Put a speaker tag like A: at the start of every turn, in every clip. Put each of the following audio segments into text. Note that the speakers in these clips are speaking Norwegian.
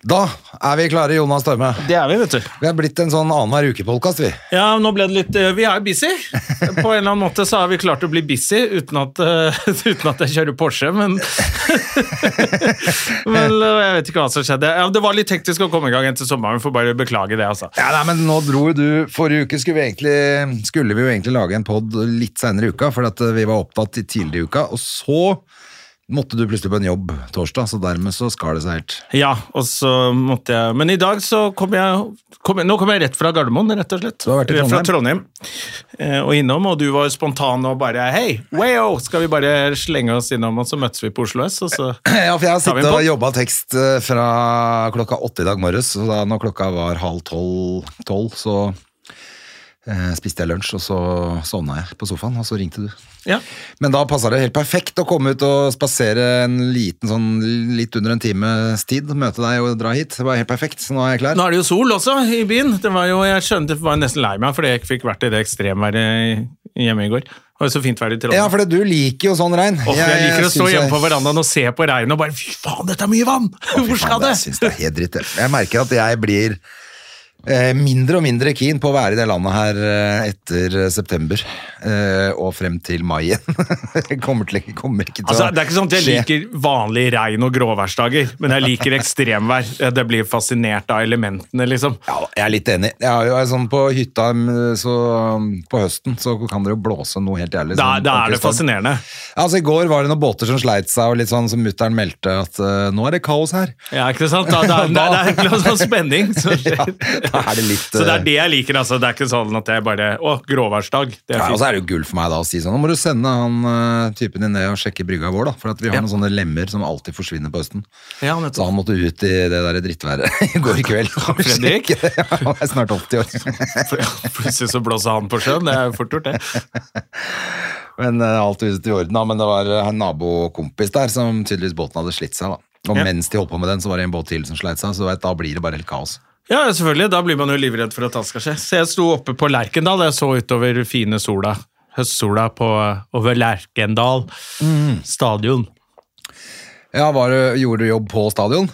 A: Da er vi klare, Jonas Storme.
B: Det er vi, vet du.
A: Vi er blitt en sånn annenhver uke-podkast, vi.
B: Ja, nå ble det litt eh, Vi er jo busy. På en eller annen måte så har vi klart å bli busy uten at, eh, uten at jeg kjører Porsche, men Men eh, jeg vet ikke hva som skjedde. Ja, det var litt hektisk å komme i gang etter sommeren, får bare beklage det, altså.
A: Ja, nei, men nå dro jo du, Forrige uke skulle vi, egentlig, skulle vi jo egentlig lage en pod litt senere i uka, for at vi var opptatt i tidligere i uka. Og så måtte du plutselig på en jobb torsdag, så dermed så skar det seg helt.
B: Ja, og så måtte jeg Men i dag så kom jeg, kom jeg Nå kom jeg rett fra Gardermoen, rett og slett.
A: Du har vært i
B: Rett Fra Trondheim eh, og innom, og du var spontan og bare Hei, wayo! Skal vi bare slenge oss innom, og så møttes vi på Oslo S, og så
A: Ja, for jeg har
B: Tar vi
A: sittet
B: en
A: og
B: pod?
A: jobba tekst eh, fra klokka åtte i dag morges, og da når klokka var halv tolv, tolv så eh, spiste jeg lunsj, og så sovna jeg på sofaen, og så ringte du.
B: Ja.
A: Men da passa det helt perfekt å komme ut og spasere en liten sånn litt under en times tid. Møte deg og dra hit. Det var helt perfekt, så nå er jeg klar.
B: Nå er det jo sol også i byen. Det var jo, jeg skjønte, var nesten lei meg fordi jeg ikke fikk vært i det ekstremværet hjemme i går. Det var jo så fint vær i Trondheim.
A: Ja, for det- du liker jo sånn regn.
B: Åh, jeg, liker å stå
A: syns
B: hjemme
A: jeg-
B: på verandaen og se på regnet og bare Fy faen, dette er mye vann!
A: Å, fy
B: Hvor skal
A: faen,
B: det?
A: Jeg syns det er helt dritt. jeg. Jeg merker at jeg blir eh, mindre og mindre keen på å være i det landet her eh, etter eh, september eh, og frem til mai igjen. Jeg kommer, til, jeg kommer ikke til
B: Altså,
A: å
B: det er ikke sånn at jeg
A: skje.
B: liker vanlig regn og gråværsdager, men jeg liker ekstremvær. Det blir fascinert av elementene, liksom.
A: Ja, jeg er litt enig. Jeg er jo jeg er sånn På hytta mm, så, mm, på høsten så kan det jo blåse noe helt jævlig.
B: Da,
A: sånn
B: da er det
A: ordentlig storm.
B: fascinerende.
A: Altså, I går var det noen båter som sleit seg, og litt sånn som mutter'n meldte at eh, nå er det kaos her.
B: Ja, ikke sant? Da, da, det, er, det er en sånn spenning. som skjer.
A: Ja, da er det litt,
B: Så det er
A: eh,
B: det jeg liker, altså. Det er ikke sånn at jeg bare Å, gråværsdag. Det er
A: Ja, og
B: fint.
A: så er det jo gull for meg da å si sånn, nå må du sende han eh, typen din ned og sjekke brygga vår da, for at vi har
B: Ja.
A: noen sånne lemmer som alltid forsvinner på høsten.
B: Ja, nettopp.
A: Så han måtte ut i det der drittværet i går i kveld.
B: Fredrik?
A: Sjekke det. Ja, Han er snart 80 år.
B: Plutselig så blåser han på sjøen. Det er jo fort gjort, det.
A: Men eh, alt huset i orden da, men det var eh, en nabokompis der som tydeligvis båten hadde slitt seg da. Og
B: Ja.
A: mens de holdt på med den, så var det en båt til som sleit seg, så du vet, da blir det bare helt kaos.
B: Ja, selvfølgelig. Da blir man jo livredd for at alt skal skje. Så jeg sto oppe på Lerkendal. Jeg så utover fine sola. Høstsola på, over Lerkendal
A: Mm.
B: stadion.
A: Ja, var det, gjorde du jobb på stadion?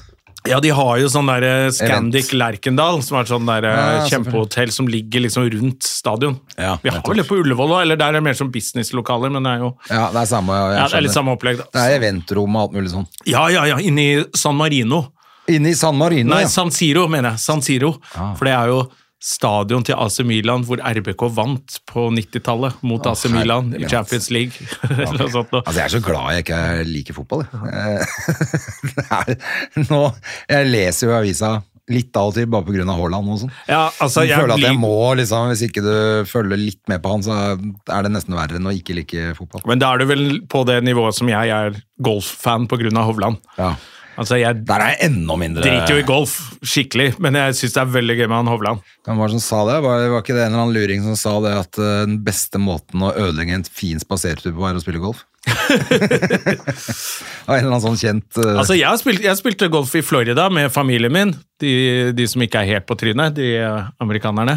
B: Ja, de har jo sånn der eh, Scandic Lerkendal, som er sånn der eh,
A: Ja, selvfølgelig.
B: kjempehotell som ligger liksom rundt stadion.
A: Ja,
B: Vi har
A: nettopp.
B: vel det på Ullevål òg, eller der er det mer som businesslokaler, men det er jo
A: Ja, det er samme, jeg
B: ja, det er litt
A: skjønner.
B: samme opplegg,
A: Det
B: da.
A: er eventrom og alt mulig sånn.
B: Ja, ja, ja, inne i San Marino.
A: Inne i San Marino,
B: Nei,
A: ja.
B: San Siro, mener jeg. San Siro.
A: Ah.
B: For det er jo stadion til AC Milan, hvor RBK vant på 90-tallet mot
A: Å,
B: AC Milan i
A: herlighet.
B: Champions League. Eller noe sånt. noe.
A: Altså, jeg er så glad jeg ikke liker fotball. Jeg, Eh, det er, nå, jeg leser jo avisa litt av og til, bare pga. Haaland og sånn.
B: Ja, altså,
A: jeg
B: jeg
A: føler at jeg
B: blir-
A: må, liksom, Hvis ikke du følger litt med på han, så er det nesten verre enn å ikke like fotball.
B: Men da er du vel på det nivået som jeg er golffan på grunn av Hovland.
A: Ja.
B: Altså, jeg
A: Der er jeg enda mindre
B: driter jo i golf, skikkelig, men jeg syns det er veldig gøy med han Hovland.
A: Hvem var det som sa det? Var, var ikke det en eller annen luring som sa det at eh, den beste måten å ødelegge en fin spasertur på, er å spille golf? Av en eller annen sånn kjent eh,
B: Altså, jeg, har spilt, jeg spilte golf i Florida med familien min, de, de som ikke er helt på trynet, de eh, amerikanerne.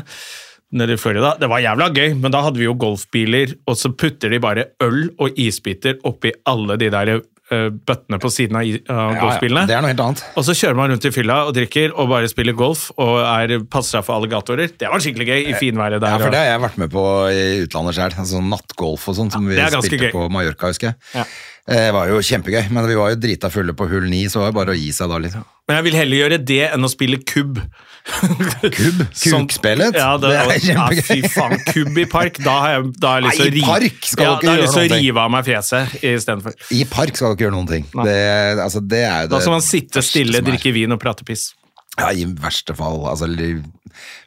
B: Nede i Florida. Det var jævla gøy, men da hadde vi jo golfbiler, og så putter de bare øl og isbiter oppi alle de der eh, bøttene på siden av i- av
A: ja, ja,
B: golfbilene.
A: Det er noe helt annet.
B: Og så kjører man rundt i fylla og drikker og bare spiller golf og er, passer seg for alligatorer. Det var skikkelig gøy i finværet der.
A: Eh, Ja, for
B: og-
A: det har jeg vært med på i utlandet sjøl. Altså nattgolf og sånn, som
B: det er
A: vi
B: ganske
A: spilte
B: gøy.
A: på Mallorca, husker jeg. Eh, Det var jo kjempegøy, men vi var jo drita fulle på hull ni, så var det bare å gi seg da liksom. litt.
B: Men jeg vil heller gjøre det enn å spille kubb.
A: Kubb?
B: Sånn-
A: Kukspillet?
B: Ja, det,
A: Det er
B: er
A: kjempegøy.
B: Ja, fy faen, kubb i park. Da har jeg, da har jeg lyst til å
A: Nei, i
B: rive-
A: park skal
B: ja,
A: du ikke
B: da har jeg
A: gjøre
B: lyst til
A: noen
B: å
A: ting.
B: rive av meg fjeset istedenfor.
A: I park skal du ikke gjøre noen ting.
B: Nei.
A: Det, altså, det er jo det
B: Da skal man sitte stille,
A: verste som er.
B: drikke vin og prate piss.
A: Ja, i verste fall. Altså, eller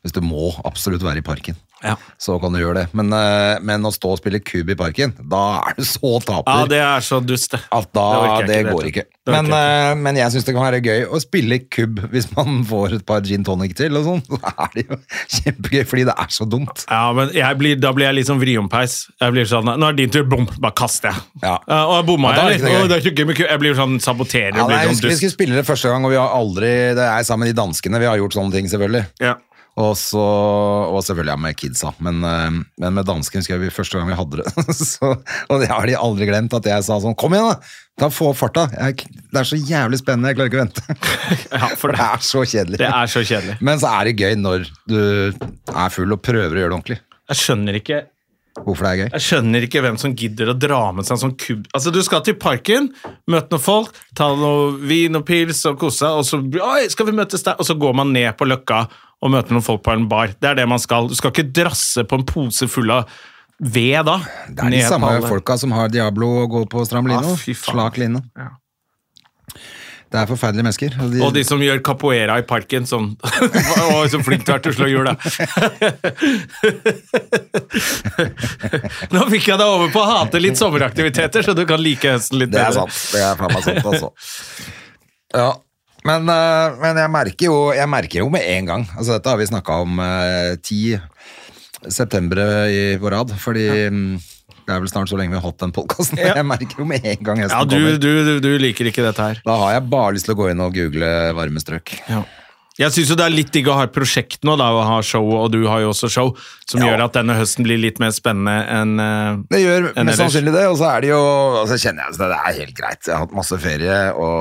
A: hvis du må absolutt være i parken.
B: Ja.
A: så kan du gjøre det. Men, eh, men å stå og spille kub i parken, da er du så taper.
B: Ja, det er så dust, det.
A: at da,
B: orker jeg
A: det,
B: i det
A: går
B: hele
A: ikke.
B: tatt. Det
A: Men,
B: orker jeg
A: eh, men jeg syns det kan være gøy å spille kubb hvis man får et par gin tonic til og sånn. Da er det jo kjempegøy, fordi det er så dumt.
B: Ja, men jeg blir, da blir jeg litt sånn vriompeis. Jeg blir sånn, Nå er det din tur, bom, bare kaster jeg.
A: Ja.
B: Eh, og jeg bomma
A: Ja, da er
B: jeg,
A: det ikke noe
B: eller? Å,
A: gøy.
B: det er ikke gøy med ku. Jeg blir sånn saboterer.
A: Ja,
B: og
A: nei, jeg
B: blir sånn
A: husker vi
B: dust.
A: skulle spille det første gang, og vi har aldri Det er sammen med de danskene, vi har gjort sånne ting, selvfølgelig.
B: Ja.
A: Og, så, og selvfølgelig ja, med kidsa, men, eh, men med dansken husker jeg vi første gang vi hadde det. Så, og det har de aldri glemt, at jeg sa sånn Kom igjen, da! Ta få farta! Jeg, det er så jævlig spennende, jeg klarer ikke å vente.
B: ja, for
A: Det
B: det,
A: er så kjedelig.
B: det er så kjedelig.
A: Men så er det gøy når du er full og prøver å gjøre det ordentlig.
B: Jeg skjønner ikke
A: Hvorfor det er gøy.
B: Jeg skjønner ikke hvem som gidder å dra med seg en sånn kubb Altså, Du skal til parken, møte noen folk, ta noe vin og pils og kose seg, og så Oi, skal vi møtes der? Og så går man ned på Løkka og møter noen folk på en bar. Det er det man skal. Du skal ikke drasse på en pose full av ved da.
A: Det er de
B: Ned på
A: samme
B: alle.
A: folka som har Diablo og går på stram line.
B: Ah,
A: og
B: fy faen.
A: slak line.
B: Ja.
A: Det er forferdelige mennesker. og de-
B: Og de som gjør capoeira i parken, sånn Å, så flink du er til å slå hjul, da. Nå fikk jeg deg over på å hate litt sommeraktiviteter, så du kan like høsten litt
A: Det er
B: bedre.
A: sant. Det er faen meg sant, altså. Ja. Men, eh, men jeg, merker jo, jeg merker jo med en gang altså, Dette har vi snakka om eh, ti septembre i på rad, fordi mm, det er vel snart så lenge vi har hatt den podkasten.
B: Ja.
A: Jeg merker jo med en gang høsten
B: Ja, du,
A: kommer.
B: du, du- du liker ikke dette her.
A: Da har jeg bare lyst til å gå inn og google varme strøk.
B: Jeg syns jo det er litt digg å ha et prosjekt nå, da, å ha show, og du har jo også show, som
A: Ja.
B: gjør at denne høsten blir litt mer spennende enn eh,
A: Det gjør
B: enn
A: mest
B: ellers.
A: sannsynlig det, og så er det jo Og så kjenner jeg at det er helt greit. Jeg har hatt masse ferie, og,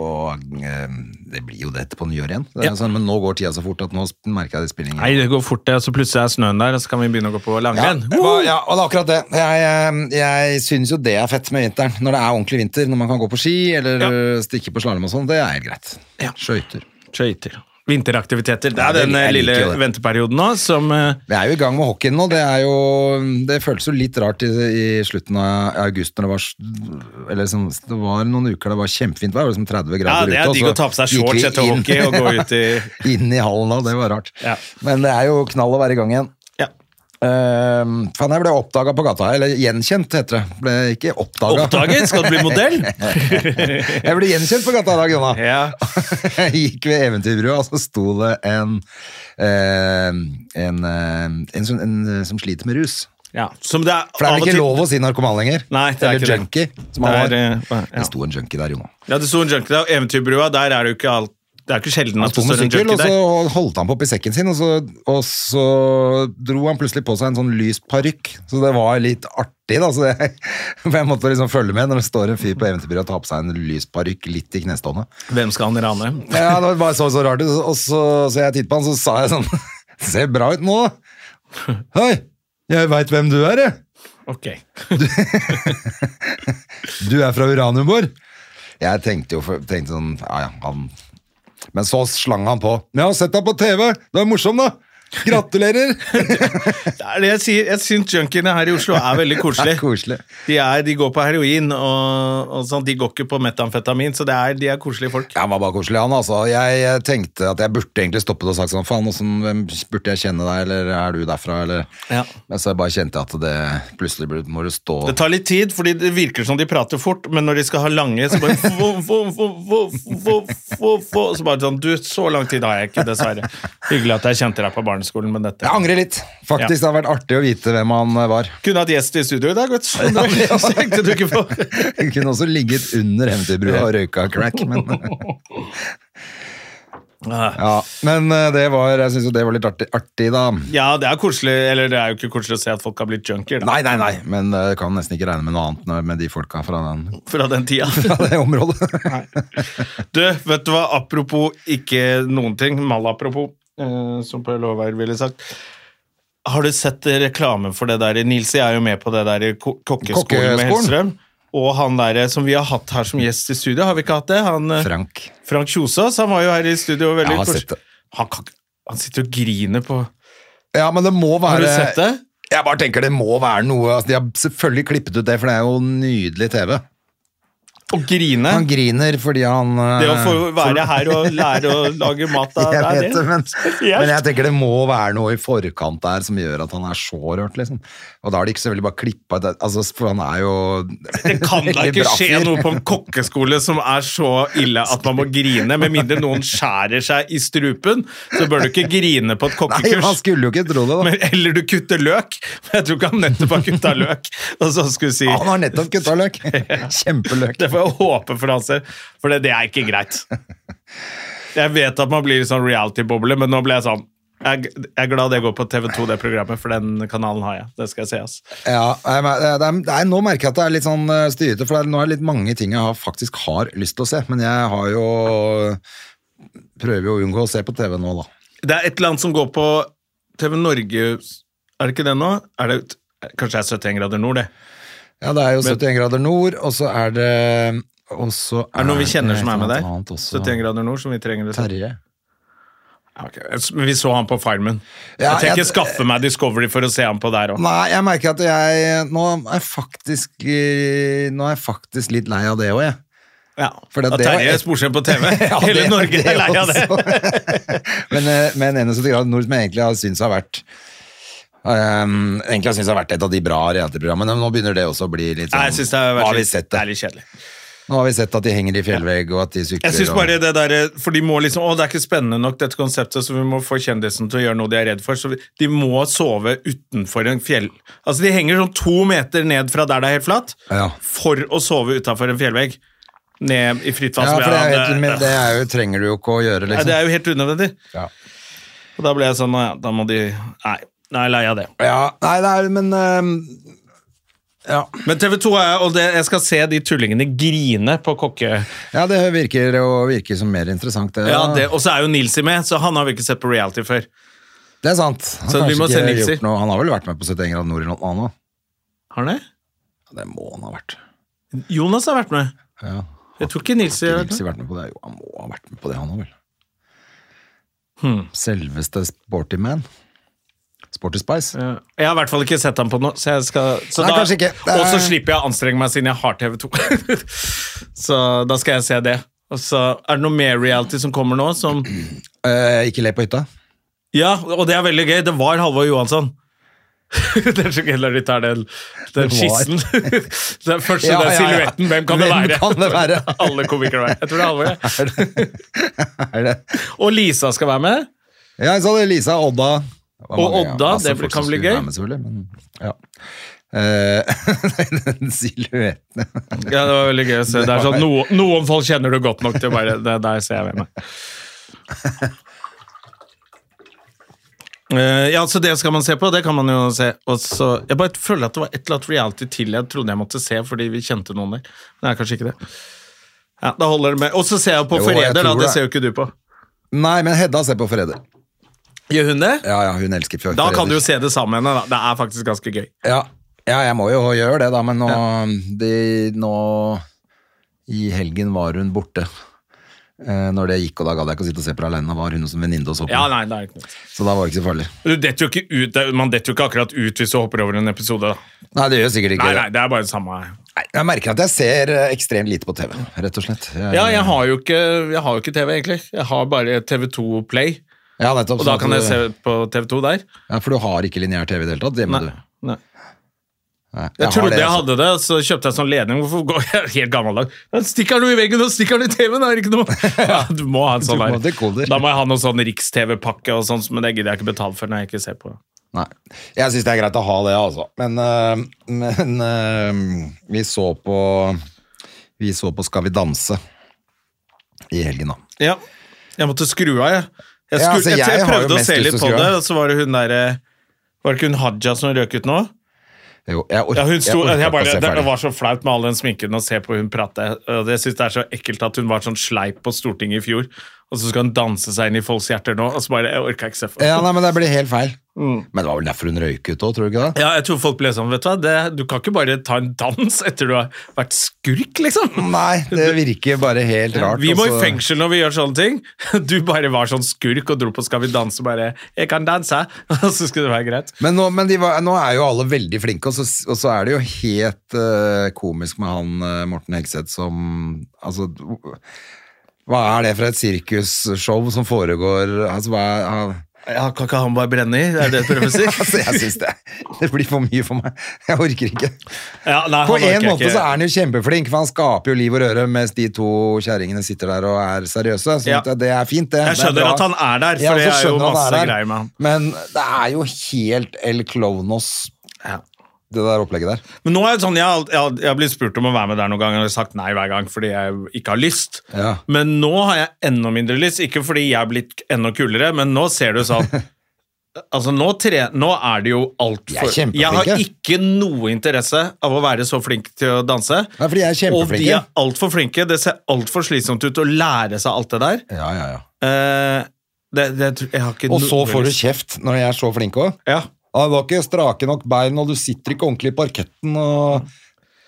A: og eh, det blir jo det på nyår igjen. Det er
B: Ja.
A: sånn, men nå går tida så fort at nå merker jeg det spiller ingen
B: Nei, det går fort, det, og så plutselig er snøen der, og så kan vi begynne å gå på
A: Ja,
B: langrenn.
A: det var- ja, og det er akkurat det. Jeg, eh, jeg syns jo det er fett med vinteren. Når det er ordentlig vinter, når man kan gå på ski eller
B: Ja.
A: eh, stikke på slalåm og sånn, det er helt greit.
B: Ja.
A: Skøyter.
B: Skøyter. Vinteraktiviteter. Det
A: Ja,
B: er
A: det-
B: den eh,
A: jeg liker
B: lille
A: jo det.
B: venteperioden nå som eh,
A: Vi er jo i gang med hockeyen nå. Det, er jo, det føltes jo litt rart i, i slutten av august når det var s- Eller sånn, det var noen uker det var kjempefint vær, det var liksom 30
B: Ja,
A: grader
B: det
A: ute.
B: er
A: og
B: digg
A: så
B: å ta på seg
A: gikk
B: shorts
A: vi
B: etter
A: inn-
B: hockey og gå ut i-
A: Inn i hallen da, det var rart.
B: Ja.
A: Men det er jo knall å være i gang igjen.
B: ja.
A: Uh, faen, jeg ble oppdaga på gata, eller gjenkjent, heter det. Ble ikke oppdaga.
B: Oppdaget? Skal du bli modell?
A: Jeg ble gjenkjent på gata i dag, Jonna.
B: ja.
A: Jeg gikk ved Eventyrbrua, og så sto det en, eh, en, eh, en, som- en som sliter med rus.
B: ja. Som det er,
A: For det er
B: av og
A: vel ikke
B: til-
A: lov å si narkoman lenger?
B: Nei, det er
A: Eller
B: ikke det.
A: junkie, som
B: Det
A: han
B: er,
A: var.
B: eh, ja.
A: Det sto en junkie der, Jonna.
B: Ja, det sto en junkie der, og Eventyrbrua, der er det jo ikke alt Det er jo ikke sjelden
A: Han
B: at det
A: sto med
B: står en
A: sykkel,
B: junkie
A: og
B: der.
A: så holdt han på oppi sekken sin, og så, og så dro han plutselig på seg en sånn lys parykk. Så det var litt artig, da. Så jeg, for jeg måtte liksom følge med når det står en fyr på Eventyrbrua og tar på seg en lys parykk litt i knestående.
B: Hvem skal han rane?
A: Ja, det var bare så, så rart ut. Og så så jeg tittet på han, så sa jeg sånn Ser bra ut nå, da. Hei, jeg veit hvem du er, jeg.
B: Ok.
A: Du er fra Uraniumborg. Jeg tenkte jo for- tenkte sånn Ja, ja, han Men så slang han på. Men jeg har sett deg på TV! Du er morsom, da! Gratulerer!
B: Det er det jeg sier. Jeg syns junkiene her i Oslo er veldig
A: Det
B: koselige.
A: er koselig.
B: De, er, de går på heroin og, og sånn. De går ikke på metamfetamin, så det er, de er koselige folk.
A: Ja, Han var bare koselig, han. altså. Jeg eh, tenkte at jeg burde egentlig stoppet og sagt sånn Faen, åssen- hvem burde jeg kjenne deg, eller er du derfra, eller
B: Ja.
A: Men så bare kjente jeg at det plutselig ble- må du stå
B: Det tar litt tid, fordi det virker som de prater fort, men når de skal ha lange, så bare få, få, få, få, få, få, få, Så bare sånn Du, så lang tid har jeg ikke, dessverre. Hyggelig at jeg kjente deg på barneskolen med dette.
A: Jeg angrer litt. Faktisk, Det
B: Ja.
A: hadde vært artig å vite hvem han var.
B: Kunne hatt gjest i studio i dag, vet du. Det tenkte du ikke på.
A: Jeg kunne også ligget under Hemtebrua og røyka crack, men Ja, men eh, det var, jeg syns jo det var litt artig, artig da. Nei,
B: Ja, det er koselig, eller det er jo ikke koselig å se at folk har blitt junkier da,
A: nei, nei, men eh, jeg kan nesten ikke regne med noe annet når- med de folka fra, den,
B: fra den tida.
A: fra det området.
B: Du, vet du hva, apropos ikke noen ting, malapropos, eh, som Per Lovær ville sagt. Har du sett reklamen for det der? Nils, jeg er jo med på det der ko- kokkeskolen
A: Kokkeskolen?
B: med Hellstrøm. Og han der eh, som vi har hatt her som gjest i studio, har vi ikke hatt det? Han, eh,
A: Frank.
B: Frank Kjosås, han var jo her i studio. Veldig
A: Jeg har
B: kos-
A: sett det.
B: Han, kan, ikke- han sitter og griner på...
A: Ja, men det må
B: Har
A: være
B: du sett det?
A: Jeg bare tenker det må være noe altså, De har selvfølgelig klippet ut det, for det er jo nydelig TV.
B: Og grine.
A: Han griner fordi han
B: Det å
A: eh,
B: få være her og lære å lage mat av
A: jeg
B: er
A: vet det, men,
B: Spesielt.
A: men jeg tenker det må være noe i forkant der som gjør at han er så rørt, liksom. Og da har de ikke selvfølgelig bare klippa ut det, altså, For han er jo
B: Det kan da
A: veldig
B: ikke
A: bra
B: skje
A: fyr.
B: noe på en kokkeskole som er så ille at man må grine, med mindre noen skjærer seg i strupen. Så bør du ikke grine på et
A: Nei, man
B: kokkekurs.
A: skulle jo ikke tro det, da.
B: Men, eller du kutter løk. Men jeg tror ikke han nettopp har kutta løk. Og så skulle si
A: han har nettopp kutta løk! Kjempeløk.
B: Det får jeg håpe for hans del, for det, det er ikke greit. Jeg vet at man blir sånn reality-boble, men nå ble jeg sånn jeg jeg er glad det går på TV2, det programmet, for den kanalen har jeg. Det skal jeg se, ass.
A: Ja, jeg mer- det er, det er, nå merker jeg at det er litt sånn eh, styrete, for det er, nå er det litt mange ting jeg har, faktisk har lyst til å se. Men jeg har jo Prøver jo å unngå å se på TV nå, da.
B: Det er et eller annet som går på TV Norge Er det ikke det nå? Er det, kanskje det er 71 grader nord, det.
A: Ja, det er jo 71 grader nord, og så er det og så
B: Er det noen vi kjenner som er med der?
A: annet også.
B: 71 grader nord, som vi trenger å se.
A: Terje.
B: Ja, ok. Men Vi så han på Farmen.
A: Ja,
B: jeg tenker
A: jeg-
B: skaffe meg Discovery for å se han på der òg.
A: Nei, jeg merker at jeg Nå er jeg faktisk eh, Nå er jeg faktisk litt lei av det òg, jeg.
B: Ja.
A: For det-
B: At
A: det var
B: Terje
A: et-
B: Sporsem på TV.
A: Ja,
B: Hele
A: det-
B: Norge
A: det
B: er lei av det.
A: også. men, eh, men 71 grader nord, som jeg egentlig har syntes har vært ehm, egentlig har syntes har vært et av de bra reality-programmene, men nå begynner det også å bli litt
B: Nei,
A: sånn
B: jeg synes det
A: Nå
B: har
A: har
B: vært
A: vi
B: litt,
A: sett
B: det
A: det.
B: er litt kjedelig.
A: Nå har vi sett at de henger i fjellvegg, og at de sykler
B: Jeg synes
A: og-
B: bare det der, for de må liksom, å det er ikke spennende nok dette konseptet, så vi må få kjendisen til å gjøre noe de er redd for, så vi, de må sove utenfor en fjell. Altså de henger sånn to meter ned fra der det er helt flatt,
A: Ja.
B: for å sove utenfor en fjellvegg, ned i fritt vann.
A: Ja,
B: som
A: for det, er,
B: jeg
A: jo
B: hadde-
A: helt- men det er jo, trenger du jo ikke å gjøre,
B: Nei,
A: liksom.
B: det er jo helt unødvendig.
A: Ja.
B: Og da ble jeg sånn, ja, da må de, nei, nei, lei av det.
A: Ja, nei, det er, men ehm, ja.
B: Men TV 2 er, og det, jeg skal se de tullingene grine på kokke...
A: ja, det virker, og virker som mer interessant. Det,
B: Ja, det, og så er jo Nilsi med, så han har vi ikke sett på reality før.
A: det er sant. Han,
B: Så
A: har
B: vi må
A: kanskje
B: se
A: ikke
B: Nilser.
A: gjort noe- han har vel vært med på 71 grader nord eller noe annet?
B: Har han det?
A: Ja, det må han ha vært.
B: Jonas har vært med.
A: Ja.
B: Jeg tror ikke Nilsi har
A: Har
B: vært med.
A: Nilsi vært med på det? Jo, han må ha vært med på det, han òg, vel.
B: Hmm.
A: Selveste Sporty Man. Sporty Spice.
B: Ja. Jeg har i hvert fall ikke sett ham på noe, så jeg skal så
A: Nei,
B: da,
A: kanskje ikke. Det er-
B: Og så slipper jeg å anstrenge meg siden jeg har TV2. så da skal jeg se det. Og så er det noe mer reality som kommer nå, som
A: Eh, ikke le på hytta.
B: Ja, og det er veldig gøy. Det var Halvor Johansson. det er så gøy når de tar den, den
A: Det var.
B: skissen. det er først
A: Ja,
B: den
A: ja, ja.
B: silhuetten. Hvem kan det
A: Hvem
B: være?
A: kan det være?
B: Alle komikere er Jeg tror det er Halvor. ja.
A: Er det?
B: Og Lisa skal være med.
A: Ja, jeg sa det. Lisa og Odda. Det var
B: Og
A: mange, ja,
B: Odda,
A: masse
B: det
A: folk
B: blir-
A: som
B: kan bli
A: skulle
B: gøy.
A: være med, selvfølgelig, men, ja. Eh, den silhuetten
B: Ja, det var veldig gøy å se. Det er sånn, noe, noen folk kjenner du godt nok til å bare det, Der ser jeg hvem jeg er. Eh, ja, så det skal man se på, det kan man jo se. Og så, jeg bare føler at det var et eller annet reality til jeg trodde jeg måtte se fordi vi kjente noen der. Men det er kanskje ikke det. Ja, da holder det med. Og så ser jeg på
A: Jo, jeg
B: Forræder, da.
A: tror
B: Det
A: det.
B: ser jo ikke du på.
A: Nei, men Hedda ser på Forræder.
B: Gjør hun det?
A: Ja, ja, hun elsker Forræder.
B: Da kan du jo se det sammen med henne, da. Det er faktisk ganske gøy.
A: Ja, ja jeg må jo gjøre det, da, men nå, de, nå I helgen var hun borte. Eh, når det gikk, og da gadd jeg ikke å sitte og se på det alene. Da var hun hos en venninne og så på.
B: Ja, nei, det er ikke noe.
A: Så da var det ikke så farlig.
B: Du detter jo ikke ut, det er- man detter jo ikke akkurat ut hvis du hopper over en episode, da.
A: Nei, det gjør sikkert ikke
B: Nei,
A: det.
B: nei, det er bare det samme.
A: Nei, Jeg merker at jeg ser eh, ekstremt lite på TV, rett og slett. Jeg,
B: Ja, jeg har jo ikke, jeg har jo ikke TV, egentlig. Jeg har bare TV2 Play,
A: Ja, nettopp.
B: og
A: sånn
B: da
A: at
B: kan jeg se
A: du,
B: på TV2 der.
A: ja, For du har ikke lineær TV i det hele tatt? Det må
B: Nei,
A: du.
B: nei.
A: Nei,
B: Jeg,
A: har
B: trodde
A: det,
B: jeg
A: altså.
B: hadde det, så kjøpte jeg sånn ledning. Hvorfor går jeg helt gammeldag? Da Stikker den i veggen og stikker den i TV-en, er det ikke noe? Ja, du må ha en sånn
A: Du må ha
B: der.
A: dekoder.
B: Da må jeg ha noen sånn Riks-TV-pakke og sånt, men det gidder jeg ikke betale for når jeg ikke ser på.
A: Nei. Jeg syns det er greit å ha det, altså. Men, øh, men øh, vi så på Vi så på Skal vi danse i helgen, da.
B: Ja, jeg måtte skru av, jeg.
A: Ja,
B: Jeg, skru,
A: altså,
B: jeg, jeg,
A: jeg har jo
B: prøvde å
A: mest
B: se
A: lyst
B: litt
A: til å
B: på
A: skru
B: det,
A: av.
B: og så var det hun der eh, Var det ikke hun Haja som røk ut nå?
A: Jo, jeg ork-
B: Ja, hun sto,
A: orker
B: jeg
A: ikke å
B: bare,
A: se
B: det, det
A: ferdig.
B: var så flaut med all den sminken å se på hun prate. Og det synes det er så ekkelt at hun var sånn sleip på Stortinget i fjor. og så skal hun danse seg inn i folks hjerter nå, og så bare Jeg orker ikke se for
A: Ja, nei, men det blir helt feil.
B: Mm.
A: Men det var vel derfor hun røyket òg, tror du ikke det?
B: Ja, jeg tror folk ble sånn, vet du hva. Det, du kan ikke bare ta en dans etter du har vært skurk, liksom.
A: Nei, det virker bare helt rart.
B: vi må i
A: altså.
B: fengsel når vi gjør sånne ting. Du bare var sånn skurk og dro på Skal vi danse, bare 'Jeg kan danse', og så skulle det være greit.
A: Men, nå, men de var, nå er jo alle veldig flinke, og så, og så er det jo helt eh, komisk med han eh, Morten Hegseth som Altså Hva er det for et sirkusshow som foregår altså, hva er, han,
B: Ja, Kan ikke han bare brenne i? Er det det du prøver å si?
A: altså, Jeg syns det, det blir for mye for meg. Jeg orker ikke.
B: Ja, nei,
A: På
B: han orker
A: en måte
B: ikke.
A: så er han jo kjempeflink, for han skaper jo liv og røre mens de to kjerringene sitter der og er seriøse. Så
B: Ja.
A: det- det er fint, det. Det
B: Jeg
A: er
B: skjønner
A: bra.
B: at han er der, for det
A: så
B: er jo
A: skjønner han
B: masse
A: er der.
B: greier med han.
A: Men det er jo helt El Clonos,
B: Ja.
A: det der opplegget der.
B: Men nå er det sånn, jeg, har alt- jeg, har- jeg har blitt spurt om å være med der noen gang, og jeg har sagt nei hver gang fordi jeg ikke har lyst.
A: Ja.
B: Men nå har jeg enda mindre lyst, ikke fordi jeg er blitt enda kulere, men nå ser du sånn Altså, nå, tre, nå er det jo alt
A: De er
B: for
A: kjempeflinke.
B: Jeg har ikke noe interesse av å være så flink til å danse.
A: Nei, for de er kjempeflinke.
B: Og de er altfor flinke. Det ser altfor slitsomt ut å lære seg alt det der.
A: Ja, ja, ja.
B: Eh, det, det, tror- jeg har ikke
A: Og så
B: noe
A: får du
B: lyst.
A: kjeft når de er så flinke òg.
B: Ja.
A: Ah, 'Du har ikke strake nok bein, og du sitter ikke ordentlig i parketten', og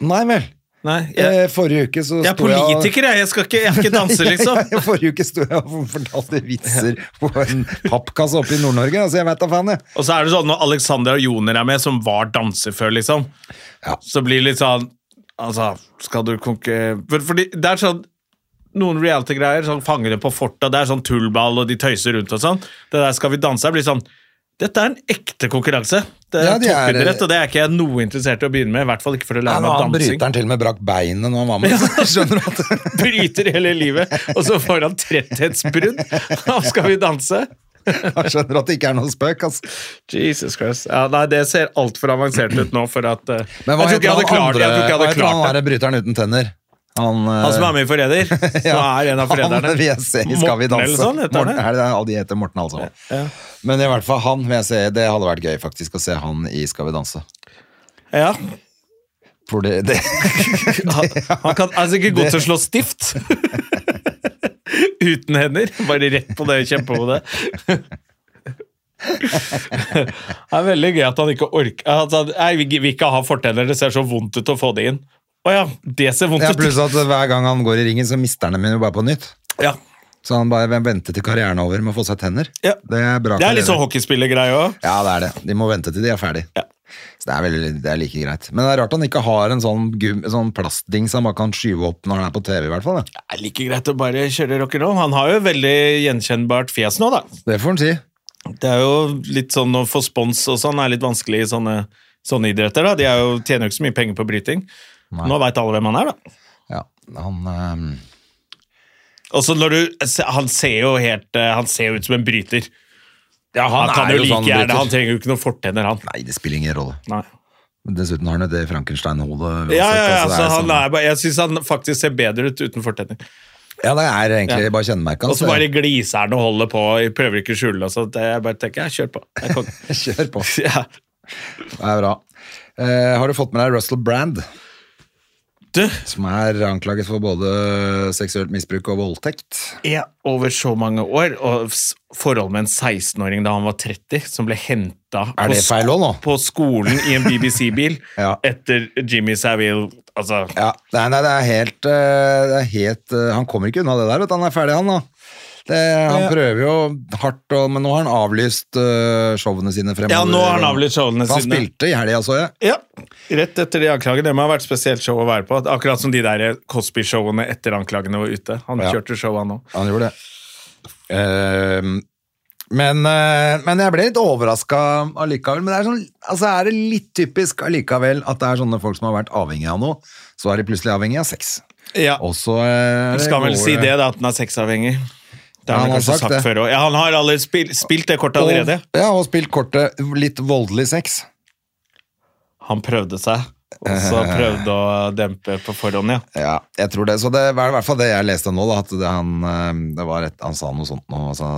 A: Nei vel.
B: Nei, jeg,
A: Eh, Forrige uke så
B: jeg er
A: sto jeg og-
B: politiker, jeg. Jeg, skal ikke, jeg er ikke danser, liksom.
A: Ja, ja, Forrige uke sto jeg og fortalte vitser på en pappkasse oppe i Nord-Norge. Altså, jeg vet da faen, jeg.
B: Og så er det sånn når Alexander og Joner er med, som var danser før, liksom,
A: Ja.
B: så blir det litt sånn Altså, skal du konkurrere for, Fordi det er sånn noen reality-greier, sånn Fangene på fortet, det er sånn tullball, og de tøyser rundt og sånn. Det der Skal vi danse blir sånn Dette er en ekte konkurranse. Det er
A: Ja, de er-
B: toppidrett, og det er ikke jeg noe interessert i å begynne med. I hvert fall ikke for å
A: Ja,
B: lære
A: nå
B: meg
A: han bryter
B: dansing.
A: han til og med brakk beinet når han var med. Skjønner du at
B: Bryter hele livet, og så får han tretthetsbrudd. Og skal vi danse?
A: Han skjønner at det ikke er noe spøk, altså.
B: Jesus Christ. Ja, nei, det ser altfor avansert ut nå for at eh,
A: Men hva
B: jeg tror
A: heter
B: ikke jeg
A: han
B: hadde klart,
A: andre
B: jeg tror ikke jeg
A: Hva
B: hadde
A: heter han
B: klart det.
A: andre bryteren uten tenner? Han, eh,
B: Han som er med i Forræder, som er en av forræderne.
A: Han vil jeg se i Skal vi
B: Morten
A: danse.
B: eller sånn heter han,
A: Morten,
B: ja.
A: er det, ja, de heter Morten, altså. Men i hvert fall han vil jeg se. Det hadde vært gøy faktisk å se han i Skal vi danse.
B: Ja.
A: For det, det,
B: Han, han kan, er sikkert god til å slå stift. Uten hender. Bare rett på det kjempehodet. Det er veldig gøy at han ikke orker at han- Nei, vi vil ikke ha fortenner, det ser så vondt ut å få det inn. Å ja, det ser vondt
A: ja,
B: ut.
A: pluss at hver gang han går i ringen, så mister han dem jo bare på nytt.
B: Ja.
A: Så han bare venter til karrieren er over med å få seg tenner.
B: Ja.
A: Det er bra
B: Det er litt
A: karriere.
B: sånn hockeyspillergreie òg.
A: Ja, det er det. De må vente til de er ferdig. Så det er, veldig, det er like greit. Men det er rart han ikke har en sånn, gum, sånn plastdings han bare kan skyve opp når han er på TV, i hvert fall. Da.
B: Det er like greit å bare kjøre rock'n'roll. Han har jo et veldig gjenkjennbart fjes nå, da.
A: Det får han si.
B: Det er jo litt sånn å få spons og sånn er litt vanskelig i sånne, sånne idretter, da. De er jo, tjener jo ikke så mye penger på bryting. Nå veit alle hvem han er, da.
A: Ja, han ehm,
B: Og så når du Han ser jo helt eh, Han ser jo ut som en bryter.
A: Ja,
B: Han, kan
A: er
B: jo like
A: sånn
B: gjerne
A: bryter.
B: Han trenger jo ikke noen fortenner, han.
A: Nei, det spiller ingen rolle.
B: Nei.
A: Dessuten har han jo det Frankenstein-hodet. uansett,
B: Ja, ja, ja,
A: altså, det
B: så
A: er
B: han
A: sånn-
B: er, bare- jeg syns han faktisk ser bedre ut uten fortenner.
A: ja, det er egentlig
B: Ja.
A: bare kjennemerket
B: Og
A: hans.
B: så bare gliser han og holder på, jeg prøver ikke å skjule det. Så det- jeg bare tenker, ja, kjør på. Det er konge.
A: Kjør på.
B: Ja.
A: Det er bra. Eh, har du fått med deg Russell Brand,
B: Du,
A: som er anklaget for både seksuelt misbruk og voldtekt?
B: er over så mange år, og s- forhold med en 16-åring da han var 30, som ble henta
A: Er
B: på,
A: det
B: sk-
A: feil òg, nå?
B: på skolen i en BBC-bil
A: Ja.
B: etter Jimmy Savile. Altså,
A: Ja, nei, nei, det er helt, eh, det er helt eh, Han kommer ikke unna det der, vet du. Han er ferdig, han, da. Det, han
B: Ja.
A: prøver jo hardt, og, men nå har han avlyst eh, showene sine fremover.
B: Ja, nå har han avlyst showene
A: eh, han
B: sine.
A: Han spilte i altså, helga, så jeg.
B: ja, rett etter de anklagene. Det må ha vært spesielt show å være på. Akkurat som de der Cosby-showene etter anklagene var ute. Han
A: Ja.
B: kjørte show, han òg.
A: Han gjorde det. Eh, men, eh, men jeg ble litt overraska allikevel. Men det er, sånn, altså er det litt typisk allikevel at det er sånne folk som har vært avhengig av noe, så er de plutselig avhengig av sex.
B: Ja.
A: Og så eh,
B: Skal vel
A: går
B: si det, da, at han er sexavhengig. Det
A: Ja,
B: har
A: han
B: han,
A: har
B: kanskje
A: sagt
B: sagt,
A: det.
B: før òg. Ja, han har alle spil, spilt det kortet allerede.
A: Og, ja, og spilt kortet litt voldelig sex.
B: Han prøvde seg Og så prøvde å dempe på forhånd, ja.
A: Ja, jeg tror det. Så det var i hvert fall det jeg leste nå, da, at det, han, eh, det var et, han sa noe sånt nå. Altså,